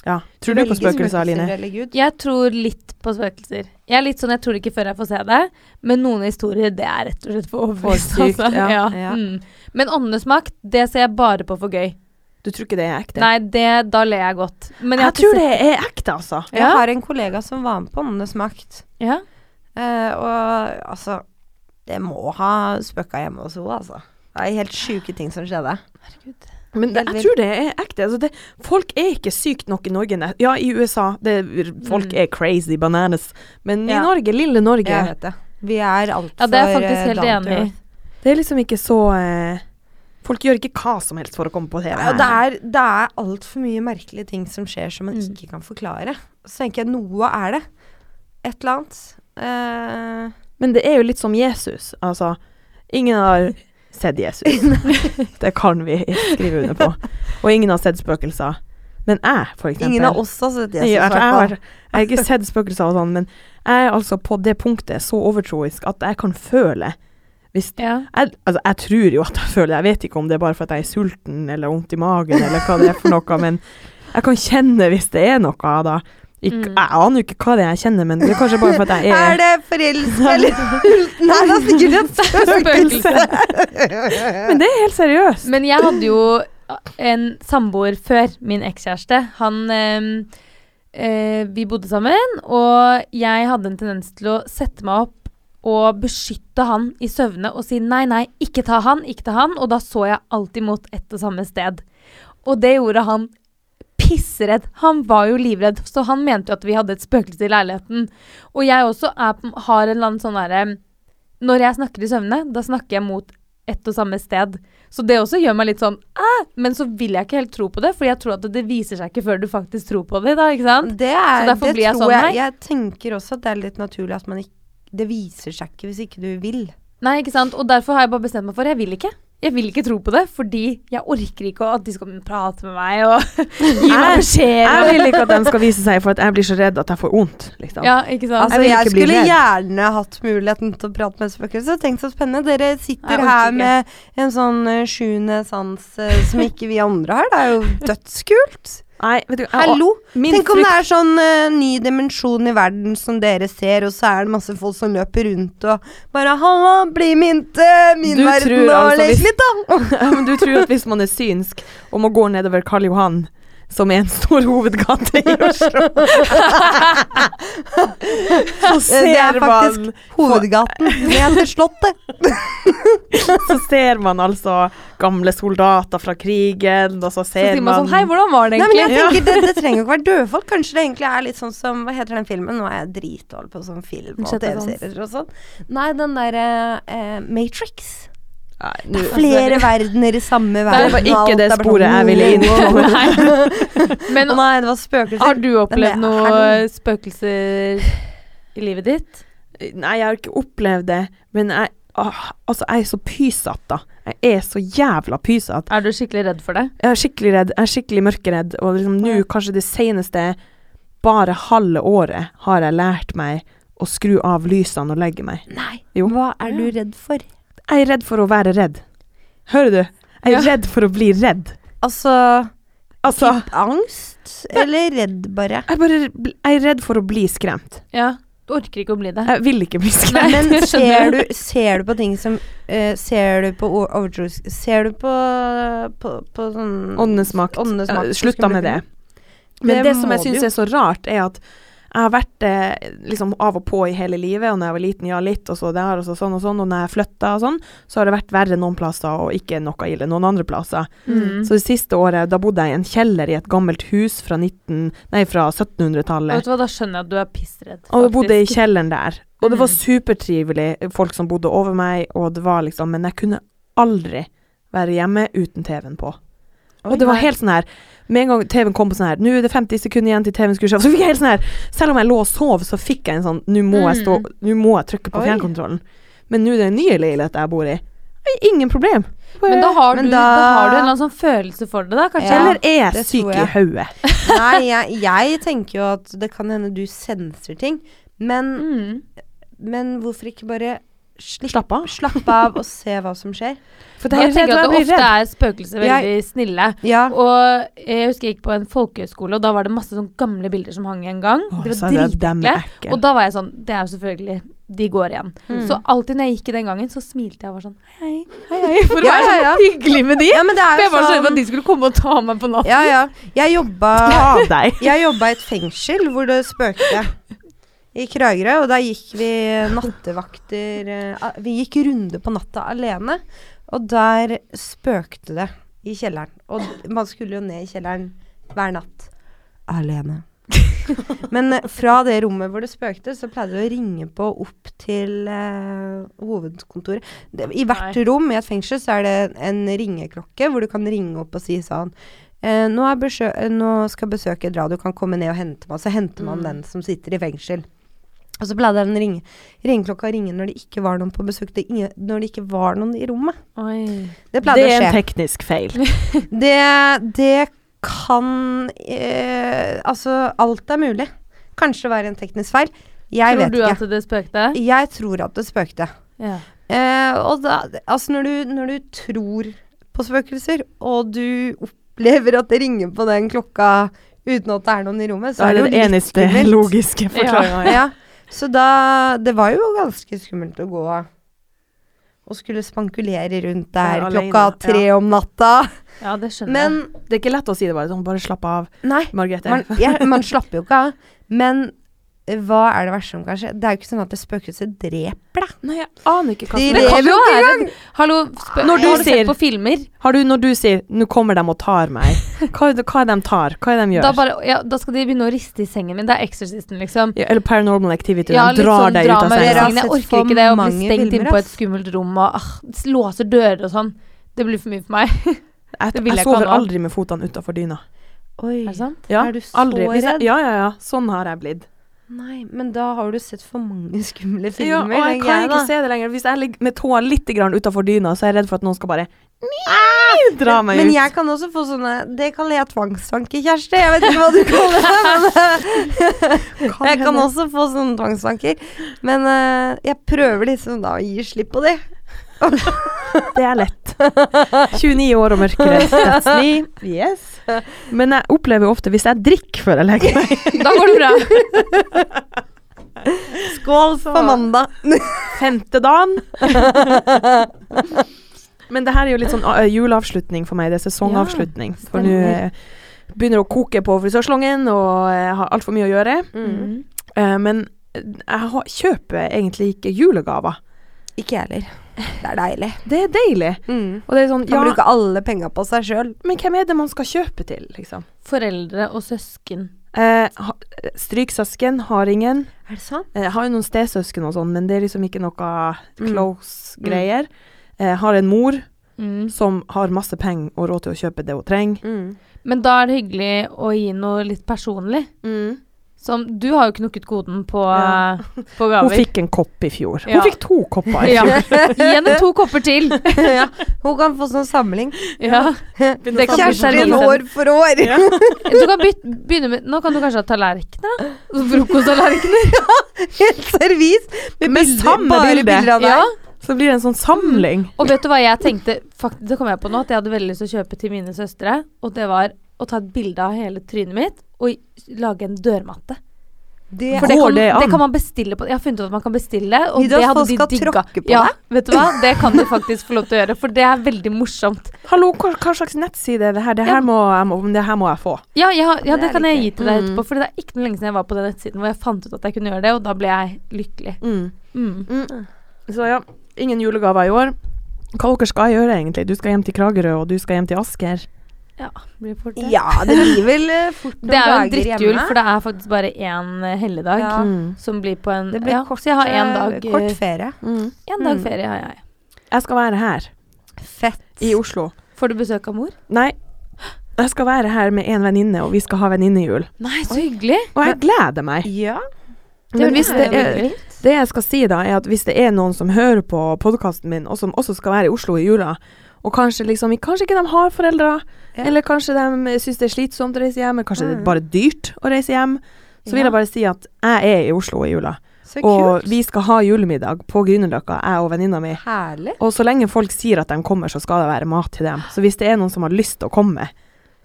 [SPEAKER 3] Ja. Tror du på
[SPEAKER 1] Veldig
[SPEAKER 3] spøkelser, Aline?
[SPEAKER 1] eller Gud.
[SPEAKER 2] Jeg tror litt på spøkelser. Jeg er litt sånn, jeg tror ikke før jeg får se det, men noen historier det er rett og slett for overbevist. altså.
[SPEAKER 3] For sykt, ja,
[SPEAKER 1] ja.
[SPEAKER 2] Mm. Men åndenes makt, det ser jeg bare på for gøy.
[SPEAKER 3] Du tror ikke det er ekte?
[SPEAKER 2] Nei, det, da ler jeg godt. Men
[SPEAKER 3] jeg,
[SPEAKER 2] jeg,
[SPEAKER 3] tror det er ekte, altså.
[SPEAKER 1] Jeg har en kollega som var med på Åndenes makt.
[SPEAKER 2] Ja.
[SPEAKER 1] Eh, og altså Det må ha spøka hjemme hos henne, altså. Det er helt sjuke ting som skjedde.
[SPEAKER 2] Herregud.
[SPEAKER 3] Men det, jeg
[SPEAKER 1] Veldig.
[SPEAKER 3] tror det er ekte. Altså det, folk er ikke sykt nok i Norge. ne- Ja, i USA. Det, folk
[SPEAKER 2] Mm.
[SPEAKER 3] er crazy bananas. Men i
[SPEAKER 1] Ja.
[SPEAKER 3] Norge, lille Norge,
[SPEAKER 1] Jeg vet det. Vi er eh, altfor
[SPEAKER 2] Ja, det er
[SPEAKER 3] eh,
[SPEAKER 2] jeg faktisk helt enig i.
[SPEAKER 3] det er liksom ikke så eh, Folk gjør ikke hva som helst for å komme på TV.
[SPEAKER 1] Ja, og det er, det er altfor mye merkelige ting som skjer som man
[SPEAKER 2] Mm.
[SPEAKER 1] ikke kan forklare. Så tenker jeg noe er det. Et eller annet. Eh,
[SPEAKER 3] Men det er jo litt som Jesus. Altså, ingen har sett
[SPEAKER 1] [laughs]
[SPEAKER 3] Jesus. det kan vi skrive under på. Og ingen har sett spøkelser. Men jeg, for eksempel.
[SPEAKER 1] ingen av oss altså. har sett Jesus.
[SPEAKER 3] Nei, jeg,
[SPEAKER 1] i hvert
[SPEAKER 3] jeg,
[SPEAKER 1] fall.
[SPEAKER 3] har, jeg har ikke sett spøkelser og sånn, men jeg er altså på det punktet så overtroisk at jeg kan føle hvis
[SPEAKER 2] Ja.
[SPEAKER 3] jeg, altså, jeg tror jo at jeg føler Jeg vet ikke om det er bare for at jeg er sulten eller vondt i magen eller hva det er for noe, men jeg kan kjenne hvis det er noe da. Ikk-
[SPEAKER 2] Mm.
[SPEAKER 3] Jeg aner jo ikke hva det er jeg kjenner, men det er kanskje bare for at jeg er
[SPEAKER 1] Er det
[SPEAKER 2] [laughs]
[SPEAKER 1] forelska eller [laughs] Nei, det er sikkert et spøkelse.
[SPEAKER 3] Men det er helt seriøst.
[SPEAKER 2] Men jeg hadde jo en samboer før min ekskjæreste. Han ehm, eh, Vi bodde sammen, og jeg hadde en tendens til å sette meg opp og beskytte han i søvne og si nei, nei, ikke ta han, ikke ta han. Og da så jeg alltid mot ett og samme sted. Og det gjorde han pissredd. Han var jo livredd, så han mente jo at vi hadde et spøkelse i leiligheten. Og jeg også er, har en eller annen sånn derre Når jeg snakker i søvne, da snakker jeg mot ett og samme sted. Så det også gjør meg litt sånn Æ! Men så vil jeg ikke helt tro på det, for jeg tror at det viser seg ikke før du faktisk tror på det. da, ikke sant?
[SPEAKER 1] Det er,
[SPEAKER 2] Så derfor
[SPEAKER 1] det
[SPEAKER 2] blir jeg
[SPEAKER 1] tror
[SPEAKER 2] sånn,
[SPEAKER 1] jeg,
[SPEAKER 2] nei.
[SPEAKER 1] jeg tenker også at det er litt naturlig at man ikke Det viser seg ikke hvis ikke du vil.
[SPEAKER 2] Nei, ikke sant? Og derfor har jeg bare bestemt meg for jeg vil ikke. Jeg vil ikke tro på det, fordi jeg orker ikke at de skal prate med meg og [laughs] gi meg
[SPEAKER 3] Jeg- Jeg
[SPEAKER 2] beskjeder.
[SPEAKER 3] vil ikke at de skal vise seg, for at jeg blir så redd at jeg får vondt. Liksom.
[SPEAKER 2] Ja, ikke sant?
[SPEAKER 1] Altså,
[SPEAKER 3] vil
[SPEAKER 1] jeg,
[SPEAKER 3] ikke bli
[SPEAKER 1] skulle
[SPEAKER 3] redd.
[SPEAKER 1] gjerne hatt muligheten til å prate med et spøkelse. Tenk så spennende. Dere
[SPEAKER 2] Jeg
[SPEAKER 1] sitter
[SPEAKER 2] orker
[SPEAKER 1] her
[SPEAKER 2] ikke.
[SPEAKER 1] med en sånn eh, sjuende sans eh, som ikke vi andre har. Det er jo dødskult.
[SPEAKER 3] Nei, vet du, jeg,
[SPEAKER 1] Hallo.
[SPEAKER 3] Min
[SPEAKER 1] Tenk om
[SPEAKER 3] frykt-
[SPEAKER 1] det er sånn eh, ny dimensjon i verden som dere ser, og så er det masse folk som løper rundt og bare 'Halla, bli med inn til min
[SPEAKER 3] Du
[SPEAKER 1] verden
[SPEAKER 3] tror
[SPEAKER 1] og
[SPEAKER 3] altså
[SPEAKER 1] lek
[SPEAKER 3] hvis-
[SPEAKER 1] litt', da.
[SPEAKER 3] Ja, men du tror at hvis man er synsk og man går nedover Karl Johan, som er en stor hovedgate i Oslo Så
[SPEAKER 1] Eh, det
[SPEAKER 3] ser
[SPEAKER 1] er faktisk
[SPEAKER 3] man
[SPEAKER 1] [laughs] hovedgaten ned til Slottet.
[SPEAKER 3] Så ser man altså gamle soldater fra krigen, og så
[SPEAKER 2] Så
[SPEAKER 3] ser
[SPEAKER 2] sier man
[SPEAKER 3] man
[SPEAKER 2] sånn Hei, hvordan var det
[SPEAKER 1] Nei, men
[SPEAKER 2] egentlig?
[SPEAKER 1] jeg tenker det, det trenger jo ikke være døde folk. Kanskje det egentlig er litt sånn som Hva heter den filmen? Nå er jeg dritdårlig på sånn film og
[SPEAKER 2] Sjette sans.
[SPEAKER 1] TV-serier og sånn. Nei, den derre eh, Matrix. Altså,
[SPEAKER 3] Nei,
[SPEAKER 1] Det
[SPEAKER 3] nå-
[SPEAKER 1] er flere verdener i samme verden.
[SPEAKER 3] var
[SPEAKER 1] og
[SPEAKER 3] ikke
[SPEAKER 1] alt
[SPEAKER 3] det
[SPEAKER 1] er bare sånn,
[SPEAKER 3] sporet jeg ville
[SPEAKER 1] [laughs]
[SPEAKER 3] inn på.
[SPEAKER 2] Men
[SPEAKER 1] Å nei, det var spøkelser.
[SPEAKER 2] har du opplevd noe spøkelser i livet ditt?
[SPEAKER 3] Nei, jeg har ikke opplevd det, men jeg Åh, altså, jeg er så pysete, da. Jeg er så jævla pysete.
[SPEAKER 2] Er du skikkelig redd for det?
[SPEAKER 3] Jeg er skikkelig redd. Jeg er skikkelig mørkeredd. Og liksom nå, kanskje det seneste bare halve året, har jeg lært meg å skru av lysene og legge meg.
[SPEAKER 1] Nei.
[SPEAKER 3] Jo.
[SPEAKER 1] Hva er du redd for?
[SPEAKER 3] Jeg er redd for å være redd. Hører du? Jeg er
[SPEAKER 2] Ja.
[SPEAKER 3] redd for å bli redd.
[SPEAKER 1] Altså
[SPEAKER 3] Altså,
[SPEAKER 1] Angst? Eller redd, bare?
[SPEAKER 3] jeg, bare, bl- jeg er redd for å bli skremt.
[SPEAKER 2] Ja. Du orker ikke å bli det.
[SPEAKER 3] Jeg vil ikke bli skremt.
[SPEAKER 2] Nei,
[SPEAKER 1] Men
[SPEAKER 2] det
[SPEAKER 1] ser
[SPEAKER 2] skjønner
[SPEAKER 1] du,
[SPEAKER 2] jeg.
[SPEAKER 1] ser du på ting som eh, Ser du på o- overtros... Ser du på, på, på sånn
[SPEAKER 3] Mm. Åndenes makt.
[SPEAKER 1] Åndenes makt.
[SPEAKER 3] Jeg Slutta med det. Men
[SPEAKER 1] Det
[SPEAKER 3] det, som jeg
[SPEAKER 1] må du
[SPEAKER 3] syns
[SPEAKER 1] jo.
[SPEAKER 3] er så rart, er at jeg har vært eh, liksom av og på i hele livet, og når jeg var liten, ja, litt, og så der, og så sånn og sånn, og når jeg flytta og sånn, så har det vært verre noen plasser, og ikke noe ille noen andre plasser.
[SPEAKER 2] Mm.
[SPEAKER 3] Så det siste året, da bodde jeg i en kjeller i et gammelt hus fra 19... Nei, fra
[SPEAKER 2] Og Vet
[SPEAKER 3] 1700-tallet.
[SPEAKER 2] du hva, Da skjønner jeg at du er pissredd.
[SPEAKER 3] Og jeg bodde i
[SPEAKER 2] faktisk.
[SPEAKER 3] kjelleren der. Og det
[SPEAKER 2] Mm.
[SPEAKER 3] var supertrivelig, eh, folk som bodde over meg, og det var liksom Men jeg kunne aldri være hjemme uten TV-en på. Og det var helt sånn her Med en gang TV-en kom på sånn her Nå er det 50 sekunder igjen til TV-en skulle skje Så fikk jeg helt sånn her Selv om jeg lå og sov Så fikk jeg en sånn Nå må jeg stå Nå må jeg trykke på
[SPEAKER 1] Oi.
[SPEAKER 3] fjernkontrollen Men nå er det en ny leilighet jeg bor i Det er Ingen problem
[SPEAKER 2] Men da har,
[SPEAKER 1] Men
[SPEAKER 2] du, da...
[SPEAKER 1] da-
[SPEAKER 2] har du en eller annen sånn følelse for det, da, kanskje?
[SPEAKER 1] Ja.
[SPEAKER 3] Eller er
[SPEAKER 1] det
[SPEAKER 3] jeg syk
[SPEAKER 1] tror
[SPEAKER 3] i
[SPEAKER 1] jeg.
[SPEAKER 3] høyet?
[SPEAKER 1] [laughs] Nei, jeg, jeg tenker jo at det kan hende du senser ting. Men,
[SPEAKER 2] Mm.
[SPEAKER 1] men hvorfor ikke bare slipp,
[SPEAKER 3] Slapp av.
[SPEAKER 1] slapp av og se hva som skjer.
[SPEAKER 3] For det er
[SPEAKER 2] Jeg
[SPEAKER 3] redd,
[SPEAKER 2] tenker at
[SPEAKER 3] jeg
[SPEAKER 2] det
[SPEAKER 3] blir
[SPEAKER 2] ofte
[SPEAKER 3] redd.
[SPEAKER 2] er spøkelser veldig snille.
[SPEAKER 1] Ja.
[SPEAKER 2] Og jeg husker jeg gikk på en folkehøyskole, og da var det masse sånne gamle bilder som hang en gang.
[SPEAKER 3] Å,
[SPEAKER 2] Det
[SPEAKER 3] så
[SPEAKER 2] var
[SPEAKER 3] er det dem
[SPEAKER 2] dritekle.
[SPEAKER 3] ekkelt.
[SPEAKER 2] Og da var jeg sånn Det er jo selvfølgelig De går igjen.
[SPEAKER 1] Mm.
[SPEAKER 2] Så alltid når jeg gikk i den gangen, så smilte jeg og var sånn Hei,
[SPEAKER 3] Hei,
[SPEAKER 1] [laughs]
[SPEAKER 3] hei, for å
[SPEAKER 1] Ja,
[SPEAKER 3] være
[SPEAKER 1] ja, ja.
[SPEAKER 3] så hyggelig med de.
[SPEAKER 1] ja, men det er jo
[SPEAKER 2] For sånn jeg var så redd for
[SPEAKER 1] sånn
[SPEAKER 2] at de skulle komme og ta meg på natten.
[SPEAKER 1] Ja, ja. Jeg jobba
[SPEAKER 3] Ta deg.
[SPEAKER 1] [laughs] Jeg jobba i et fengsel hvor det spøkte. I Kragerø, og der gikk vi nattevakter eh, a- Vi gikk runde på natta alene, og der spøkte det i kjelleren. Og d- man skulle jo ned i kjelleren hver natt. Alene. Men eh, fra det rommet hvor det spøkte, så pleide det å ringe på opp til eh, hovedkontoret. Det, I hvert rom i et fengsel så er det en ringeklokke hvor du kan ringe opp og si sånn Eh, nå, er besø eh, nå skal besøket dra, du kan komme ned og hente meg. Så henter man
[SPEAKER 2] Mm.
[SPEAKER 1] den som sitter i fengsel. Og så pleide den ringe, ringeklokka å ringe når det ikke var noen på besøk. Det, ingen- når det ikke var noen i rommet.
[SPEAKER 2] Oi.
[SPEAKER 1] Det
[SPEAKER 3] Det
[SPEAKER 1] pleide
[SPEAKER 3] er
[SPEAKER 1] å
[SPEAKER 3] en
[SPEAKER 1] skje.
[SPEAKER 3] teknisk feil.
[SPEAKER 1] Det, det kan eh, Altså, alt er mulig. Kanskje det var en teknisk feil. Jeg
[SPEAKER 2] Tror
[SPEAKER 1] vet
[SPEAKER 2] du
[SPEAKER 1] ikke.
[SPEAKER 2] at det spøkte?
[SPEAKER 1] Jeg tror at det spøkte.
[SPEAKER 2] Ja.
[SPEAKER 1] Eh, og da, altså når du, når du tror på spøkelser, og du opplever at det ringer på den klokka uten at det er noen i rommet, så
[SPEAKER 3] Da
[SPEAKER 1] er
[SPEAKER 3] er
[SPEAKER 1] det
[SPEAKER 3] det
[SPEAKER 1] jo
[SPEAKER 3] den
[SPEAKER 1] litt
[SPEAKER 3] eneste
[SPEAKER 1] skummelt.
[SPEAKER 3] logiske
[SPEAKER 1] [laughs]
[SPEAKER 3] forklaringa.
[SPEAKER 1] Ja. Så da Det var jo ganske skummelt å gå og skulle spankulere rundt der
[SPEAKER 3] Ja, alene,
[SPEAKER 1] klokka tre om natta.
[SPEAKER 2] ja, det skjønner jeg.
[SPEAKER 1] Men
[SPEAKER 3] Det er ikke lett å si det bare sånn. Bare slapp av,
[SPEAKER 1] nei,
[SPEAKER 3] Margrethe.
[SPEAKER 1] man, ja, man slapp jo ikke av. Men eh, hva er det verste som kan skje? Det er jo ikke sånn at det spøkelset dreper deg.
[SPEAKER 3] Nei, jeg aner ikke hva
[SPEAKER 1] De
[SPEAKER 3] som
[SPEAKER 2] det kan
[SPEAKER 1] lever
[SPEAKER 2] jo
[SPEAKER 1] jo ikke
[SPEAKER 2] være-
[SPEAKER 1] engang!
[SPEAKER 2] Hallo, spø
[SPEAKER 3] Når du
[SPEAKER 2] har du
[SPEAKER 3] ser-
[SPEAKER 2] sett på filmer?
[SPEAKER 3] Har du, når du sier 'nå kommer de og tar meg', [laughs] hva er det hva er det de tar? Hva er det de gjør?
[SPEAKER 2] Da, bare, ja, da skal de begynne å riste i sengen min. Det er Exorcisten, liksom.
[SPEAKER 3] ja, eller Paranormal Activity.
[SPEAKER 2] Ja,
[SPEAKER 3] de
[SPEAKER 2] litt
[SPEAKER 3] drar
[SPEAKER 2] sånn
[SPEAKER 3] deg ut av
[SPEAKER 2] drama i
[SPEAKER 1] senga.
[SPEAKER 2] sengen. Jeg
[SPEAKER 1] Jeg har sett
[SPEAKER 2] orker
[SPEAKER 1] for
[SPEAKER 2] ikke det å bli
[SPEAKER 1] mange
[SPEAKER 2] stengt
[SPEAKER 1] filmer,
[SPEAKER 2] inn på
[SPEAKER 1] ass.
[SPEAKER 2] et skummelt rom og ah, låser dører og sånn. Det blir for mye for meg.
[SPEAKER 3] Jeg,
[SPEAKER 2] Det
[SPEAKER 3] jeg,
[SPEAKER 2] vil jeg ikke
[SPEAKER 3] sover
[SPEAKER 2] ha nå.
[SPEAKER 3] aldri med fotene utafor dyna.
[SPEAKER 1] Oi.
[SPEAKER 2] Er det sant?
[SPEAKER 3] Ja,
[SPEAKER 1] Er du så
[SPEAKER 3] aldri. Hvis
[SPEAKER 1] redd?
[SPEAKER 3] Jeg, ja, ja, ja. Sånn har jeg blitt.
[SPEAKER 1] Nei, men da har du sett for mange [laughs] skumle filmer.
[SPEAKER 3] Ja, og jeg
[SPEAKER 1] tenker
[SPEAKER 3] kan
[SPEAKER 1] da.
[SPEAKER 3] ikke se det lenger. Hvis jeg ligger med tåa litt utafor dyna, så er jeg redd for at noen skal bare Nei, dra meg
[SPEAKER 1] Men
[SPEAKER 3] ut.
[SPEAKER 1] jeg kan også få sånne Det kaller jeg tvangstanker, Kjersti. Jeg vet ikke hva du [laughs] kaller det. Men, eh, jeg kan
[SPEAKER 3] hende.
[SPEAKER 1] også få sånne tvangstanker. Men eh, jeg prøver liksom da å gi slipp på de.
[SPEAKER 3] Det er lett. [laughs] 29 år og mørkeredd. That's me. Yes. Men jeg opplever ofte, hvis jeg drikker før jeg legger meg
[SPEAKER 2] [laughs] Da går det bra.
[SPEAKER 1] Skål for mandag. [laughs]
[SPEAKER 3] Femte dagen. Men det her er jo litt sånn uh, juleavslutning for meg. Det er sesongavslutning. for nå
[SPEAKER 2] stemmer.
[SPEAKER 3] eh, begynner det å koke på frisørsalongen, og jeg har altfor mye å gjøre.
[SPEAKER 1] Mm.
[SPEAKER 2] Mm.
[SPEAKER 3] Eh, men jeg har, kjøper egentlig ikke julegaver.
[SPEAKER 1] Ikke jeg heller. Det er deilig.
[SPEAKER 3] Det er deilig.
[SPEAKER 1] Mm.
[SPEAKER 3] Og det er sånn,
[SPEAKER 1] Kan
[SPEAKER 3] ja,
[SPEAKER 1] bruke alle penga på seg sjøl.
[SPEAKER 3] men hvem er det man skal kjøpe til, liksom?
[SPEAKER 2] [laughs] Foreldre og søsken.
[SPEAKER 3] Eh, ha- Stryksøsken har ingen.
[SPEAKER 1] Er det sant?
[SPEAKER 3] Eh, Jeg har jo noen stesøsken og sånn, men det er liksom ikke noe
[SPEAKER 1] Mm.
[SPEAKER 3] close greier. Eh, Jeg har en mor
[SPEAKER 2] Mm.
[SPEAKER 3] som har masse penger og råd til å kjøpe det hun trenger.
[SPEAKER 1] Mm.
[SPEAKER 2] [laughs] Men da er det hyggelig å gi noe litt personlig. Som Du har jo knukket koden på,
[SPEAKER 3] Mm. Ja.
[SPEAKER 2] [laughs] på
[SPEAKER 3] Hun
[SPEAKER 2] gaver.
[SPEAKER 3] fikk en kopp i fjor.
[SPEAKER 2] Ja.
[SPEAKER 3] Hun fikk to kopper i [laughs]
[SPEAKER 2] Ja.
[SPEAKER 3] fjor.
[SPEAKER 2] Gi henne to kopper
[SPEAKER 3] [laughs]
[SPEAKER 2] til.
[SPEAKER 1] ja. Hun kan få sånn samling.
[SPEAKER 2] Ja. Det kan bli
[SPEAKER 1] Kjersti
[SPEAKER 2] sånn-
[SPEAKER 1] år for år.
[SPEAKER 2] Du kan bytte, begynne med Nå kan du kanskje ha tallerkener? da? Frokosttallerkener?
[SPEAKER 1] [laughs] Helt servis. Med,
[SPEAKER 3] [laughs] Med
[SPEAKER 1] bilder,
[SPEAKER 3] samme
[SPEAKER 1] bare
[SPEAKER 3] bilde.
[SPEAKER 1] bilder av deg.
[SPEAKER 2] Ja.
[SPEAKER 3] Så blir det en sånn samling.
[SPEAKER 2] Og vet du hva jeg tenkte? Fakt, det kom jeg på nå, at jeg hadde veldig lyst til å kjøpe til mine søstre. Og det var å ta et bilde av hele trynet mitt og lage en dørmatte.
[SPEAKER 1] Det
[SPEAKER 2] For det
[SPEAKER 3] Går
[SPEAKER 2] kan, det,
[SPEAKER 3] det an?
[SPEAKER 2] kan man bestille på. Jeg har funnet ut at man kan bestille, og
[SPEAKER 1] Vil du
[SPEAKER 2] det
[SPEAKER 1] at
[SPEAKER 2] hadde
[SPEAKER 1] folk
[SPEAKER 2] de
[SPEAKER 1] skal
[SPEAKER 2] digga.
[SPEAKER 1] tråkke på
[SPEAKER 2] ja,
[SPEAKER 1] deg?
[SPEAKER 2] vet du hva? Det kan de faktisk få lov til å gjøre, for det er veldig morsomt.
[SPEAKER 3] Hallo, hva, hva slags nettside er det her? Det her,
[SPEAKER 2] Ja.
[SPEAKER 3] må, jeg må, det her må jeg få.
[SPEAKER 2] Ja, jeg har- ja
[SPEAKER 1] Det
[SPEAKER 2] det,
[SPEAKER 1] er
[SPEAKER 2] kan
[SPEAKER 1] litt Mm.
[SPEAKER 2] jeg gi til deg
[SPEAKER 3] gøy.
[SPEAKER 2] etterpå, for det er ikke noe lenge siden jeg var på den nettsiden hvor jeg fant ut at jeg kunne gjøre det, og da ble jeg lykkelig. Mm.
[SPEAKER 3] Så ja, ingen julegaver i år. Hva dere skal gjøre egentlig? Du skal hjem til Kragerø, og du skal hjem til Asker.
[SPEAKER 2] Ja, blir det fort det?
[SPEAKER 1] Ja, det blir vel eh, fort noen
[SPEAKER 2] Det er jo en
[SPEAKER 1] dager
[SPEAKER 2] drittjul,
[SPEAKER 1] hjemme.
[SPEAKER 2] for det er faktisk bare én eh, helligdag
[SPEAKER 1] Ja.
[SPEAKER 2] som blir på en
[SPEAKER 1] Det blir
[SPEAKER 2] ja,
[SPEAKER 1] kort,
[SPEAKER 2] Så jeg har én
[SPEAKER 1] eh,
[SPEAKER 2] dag,
[SPEAKER 1] kort
[SPEAKER 2] eh,
[SPEAKER 1] ferie.
[SPEAKER 3] Mm.
[SPEAKER 2] en dag
[SPEAKER 1] Mm.
[SPEAKER 2] ferie. har jeg.
[SPEAKER 3] Jeg skal være her,
[SPEAKER 1] Fett.
[SPEAKER 3] i Oslo.
[SPEAKER 2] Får du besøk av mor?
[SPEAKER 3] Nei, jeg skal være her med en venninne, og vi skal ha venninnejul.
[SPEAKER 2] Nei, så hyggelig!
[SPEAKER 3] Og jeg gleder meg.
[SPEAKER 1] Ja.
[SPEAKER 3] Men hvis det, er,
[SPEAKER 2] hyggelig.
[SPEAKER 3] det jeg skal si da, er at hvis det er noen som hører på podkasten min, og som også skal være i Oslo i jula, og kanskje liksom Kanskje ikke de har foreldre,
[SPEAKER 1] Ja. Mm.
[SPEAKER 3] eller kanskje de syns det er slitsomt å reise hjem, eller kanskje det er bare dyrt å reise hjem, så
[SPEAKER 1] Ja.
[SPEAKER 3] vil jeg bare si at jeg er i Oslo i jula.
[SPEAKER 1] Så
[SPEAKER 3] Og
[SPEAKER 1] kult.
[SPEAKER 3] vi skal ha julemiddag på Grünerløkka, jeg og venninna mi.
[SPEAKER 1] Herlig.
[SPEAKER 3] Og så lenge folk sier at de kommer, så skal det være mat til dem. Så hvis det er noen som har lyst til å komme,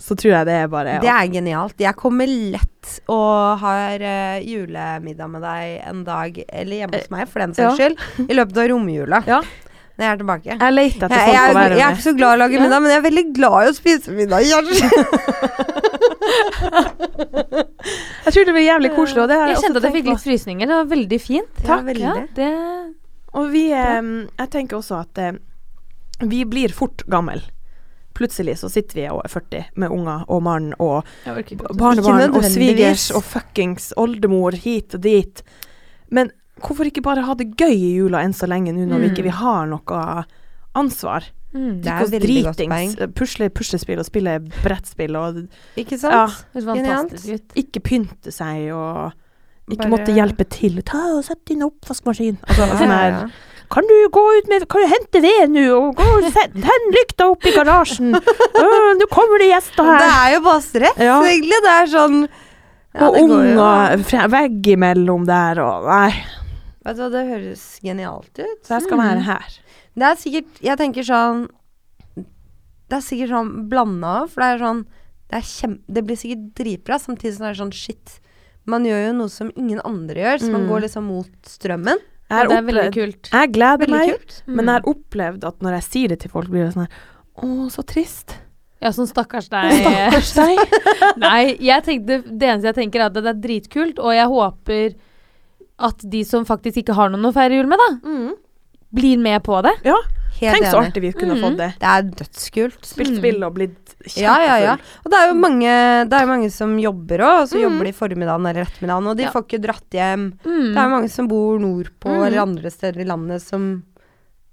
[SPEAKER 3] så tror jeg det er bare
[SPEAKER 1] Det er genialt. Jeg kommer lett og har eh, julemiddag med deg en dag, eller hjemme hos meg for den saks
[SPEAKER 3] ja.
[SPEAKER 1] skyld, i løpet av romjula.
[SPEAKER 3] Ja.
[SPEAKER 1] Når jeg er tilbake.
[SPEAKER 3] Jeg leter etter
[SPEAKER 1] Jeg,
[SPEAKER 3] folk
[SPEAKER 1] jeg,
[SPEAKER 3] å
[SPEAKER 1] er-
[SPEAKER 3] være
[SPEAKER 1] jeg er
[SPEAKER 3] med.
[SPEAKER 1] ikke så glad i å lage
[SPEAKER 2] Ja.
[SPEAKER 1] middag, men jeg er veldig glad i å spise middag.
[SPEAKER 3] [laughs]
[SPEAKER 1] Jeg-
[SPEAKER 3] Jeg tror det blir jævlig koselig. Og, det har
[SPEAKER 2] Jeg
[SPEAKER 3] jeg
[SPEAKER 2] kjente
[SPEAKER 3] også
[SPEAKER 2] at jeg
[SPEAKER 3] tenkt
[SPEAKER 2] fikk litt frysninger. Det var veldig fint.
[SPEAKER 1] Ja, veldig.
[SPEAKER 2] Ja, det,
[SPEAKER 3] på. og vi eh, Jeg tenker også at eh, vi blir fort gammel. Plutselig så sitter vi og er 40 med unger og mann og
[SPEAKER 2] jeg orker ikke.
[SPEAKER 3] barnebarn og
[SPEAKER 1] nødvendigvis.
[SPEAKER 3] svigers og fuckings oldemor hit og dit. Men hvorfor ikke bare ha det gøy i jula enn så lenge nå når vi
[SPEAKER 2] Mm.
[SPEAKER 3] ikke vi har noe ansvar?
[SPEAKER 2] Mm.
[SPEAKER 1] Det er
[SPEAKER 3] Ikke oss
[SPEAKER 1] veldig godt
[SPEAKER 3] dritings. eh, Pusle puslespill og spille brettspill og
[SPEAKER 1] Ikke sant?
[SPEAKER 3] ja,
[SPEAKER 2] Det var
[SPEAKER 1] Genialt.
[SPEAKER 2] fantastisk ut.
[SPEAKER 3] ikke pynte seg og ikke
[SPEAKER 1] Bare-
[SPEAKER 3] måtte hjelpe til. Ta og Sett inn oppvaskmaskin. Altså,
[SPEAKER 1] Ja, ja,
[SPEAKER 3] sånn her,
[SPEAKER 1] ja.
[SPEAKER 3] kan du gå ut med Kan du hente ved nå? Og gå og sett- [laughs] tenn lykta opp i garasjen. Øh, nå kommer det gjester
[SPEAKER 1] Det
[SPEAKER 3] her.
[SPEAKER 1] er jo bare stress,
[SPEAKER 3] Ja.
[SPEAKER 1] egentlig. Det er sånn Ja,
[SPEAKER 3] og
[SPEAKER 1] det går jo-
[SPEAKER 3] unger fra- veggimellom der og Nei.
[SPEAKER 1] Vet du hva, det høres genialt ut.
[SPEAKER 3] Så jeg skal
[SPEAKER 1] Mm.
[SPEAKER 3] være her.
[SPEAKER 1] Det er sikkert Jeg tenker sånn Det er sikkert sånn blanda òg, for det er sånn det, er kjem, det blir sikkert dritbra, samtidig som det er sånn shit. Man gjør jo noe som ingen andre gjør, så man
[SPEAKER 3] Mm.
[SPEAKER 1] går liksom mot strømmen.
[SPEAKER 3] Jeg, har
[SPEAKER 2] det er veldig
[SPEAKER 3] opplevd-
[SPEAKER 2] kult. Mm.
[SPEAKER 3] jeg gleder
[SPEAKER 1] Veldig
[SPEAKER 3] meg,
[SPEAKER 1] kult. Mm.
[SPEAKER 3] men jeg har opplevd at når jeg sier det til folk, blir det sånn her Å, så trist.
[SPEAKER 2] Ja, sånn stakkars deg.
[SPEAKER 3] Stakkars deg.
[SPEAKER 1] [laughs]
[SPEAKER 2] [laughs] Nei, jeg tenkte, det eneste jeg tenker er at det er dritkult, og jeg håper at de som faktisk ikke har noen å feire jul med, da,
[SPEAKER 1] Mm.
[SPEAKER 2] blir med på det.
[SPEAKER 3] Ja,
[SPEAKER 1] Helt
[SPEAKER 3] Tenk så
[SPEAKER 1] enig.
[SPEAKER 3] artig vi kunne
[SPEAKER 2] Mm.
[SPEAKER 3] fått det.
[SPEAKER 1] Det er dødskult.
[SPEAKER 3] Spilt spill og blitt kjempefull.
[SPEAKER 1] Mm. Ja, ja, ja. Og det er jo mange, det er jo mange som jobber òg, og så
[SPEAKER 3] Mm.
[SPEAKER 1] jobber de formiddagen eller ettermiddagen, og de
[SPEAKER 2] Ja.
[SPEAKER 1] får ikke dratt hjem.
[SPEAKER 2] Mm.
[SPEAKER 1] Det er jo mange som bor nordpå
[SPEAKER 3] Mm.
[SPEAKER 1] eller andre steder i landet som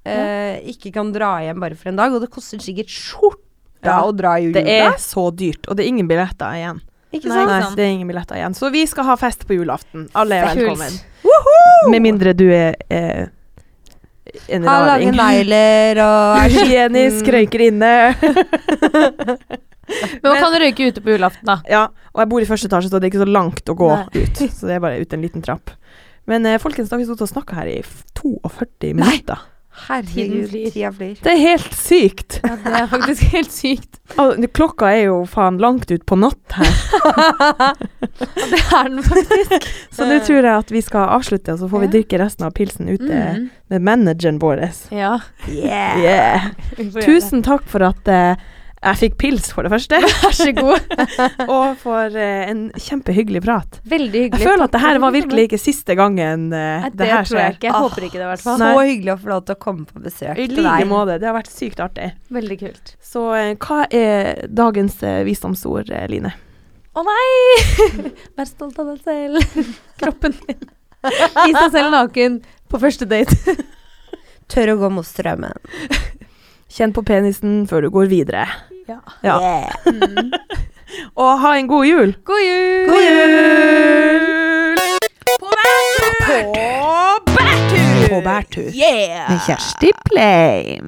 [SPEAKER 1] eh, ikke kan dra hjem bare for en dag, og det koster sikkert skjorta
[SPEAKER 3] Ja.
[SPEAKER 1] å dra i jula.
[SPEAKER 3] Det er så dyrt, og det er ingen billetter igjen.
[SPEAKER 1] Ikke
[SPEAKER 3] Nei,
[SPEAKER 1] sant?
[SPEAKER 3] nei,
[SPEAKER 2] sant?
[SPEAKER 3] det er ingen billetter igjen. Så vi skal ha fest på julaften. Alle er
[SPEAKER 2] Kult.
[SPEAKER 3] velkommen. Med mindre du er eh, en
[SPEAKER 1] Har lange
[SPEAKER 3] raring. [laughs]
[SPEAKER 1] negler og er
[SPEAKER 2] Mm.
[SPEAKER 3] Hygienisk,
[SPEAKER 1] skitten.
[SPEAKER 3] røyker inne. [laughs]
[SPEAKER 2] Men man kan røyke ute på julaften, da.
[SPEAKER 3] Ja, og jeg bor i første etasje, så det er ikke så langt å gå
[SPEAKER 2] Nei.
[SPEAKER 3] ut. Så det er bare ut en liten trapp. Men eh, folkens, da har vi stått og snakka her i f- 42 minutter.
[SPEAKER 2] Tiden
[SPEAKER 1] Herregud,
[SPEAKER 2] flyr.
[SPEAKER 1] tida flyr.
[SPEAKER 3] Det er helt sykt.
[SPEAKER 2] Ja, det er faktisk helt sykt.
[SPEAKER 3] Al- Klokka er jo faen langt ut på natt her.
[SPEAKER 2] [laughs] Det er den faktisk.
[SPEAKER 3] [laughs] Så nå tror jeg at vi skal avslutte, og så får vi
[SPEAKER 2] Ja.
[SPEAKER 3] drikke resten av pilsen ute
[SPEAKER 2] Mm.
[SPEAKER 3] med manageren vår.
[SPEAKER 2] Ja.
[SPEAKER 1] Yeah.
[SPEAKER 3] Yeah.
[SPEAKER 2] vi får gjøre det.
[SPEAKER 3] Tusen takk for at eh, jeg fikk pils, for det første,
[SPEAKER 2] Vær så god.
[SPEAKER 3] og for eh, en kjempehyggelig prat.
[SPEAKER 2] [laughs] Veldig hyggelig.
[SPEAKER 3] Jeg føler at
[SPEAKER 2] Takk
[SPEAKER 3] det her
[SPEAKER 2] for
[SPEAKER 3] var
[SPEAKER 2] du kom.
[SPEAKER 3] virkelig ikke siste gangen eh,
[SPEAKER 2] Nei,
[SPEAKER 3] det
[SPEAKER 2] det
[SPEAKER 3] her
[SPEAKER 2] tror jeg
[SPEAKER 3] skjer.
[SPEAKER 2] ikke. Jeg
[SPEAKER 1] Åh,
[SPEAKER 2] håper ikke det, i hvert
[SPEAKER 1] Så
[SPEAKER 2] fall.
[SPEAKER 3] Nei.
[SPEAKER 1] hyggelig å få lov til å komme på besøk
[SPEAKER 3] I
[SPEAKER 1] til
[SPEAKER 3] like
[SPEAKER 1] deg.
[SPEAKER 3] måte. Det har vært sykt artig.
[SPEAKER 2] Veldig kult.
[SPEAKER 3] Så eh, hva er dagens eh, visdomsord, eh, Line?
[SPEAKER 2] Å nei! [laughs] Vær stolt av deg selv. [laughs] Kroppen din.
[SPEAKER 3] [laughs]
[SPEAKER 2] Vis deg selv naken på første date.
[SPEAKER 1] Tør å gå mot strømmen.
[SPEAKER 3] Kjenn på penisen før du går videre.
[SPEAKER 2] Ja.
[SPEAKER 3] Ja.
[SPEAKER 1] Yeah.
[SPEAKER 2] Mm.
[SPEAKER 3] Og ha en god jul!
[SPEAKER 2] God jul!
[SPEAKER 3] God jul! På bærtur! På bærtur. Med Kjersti Pleim.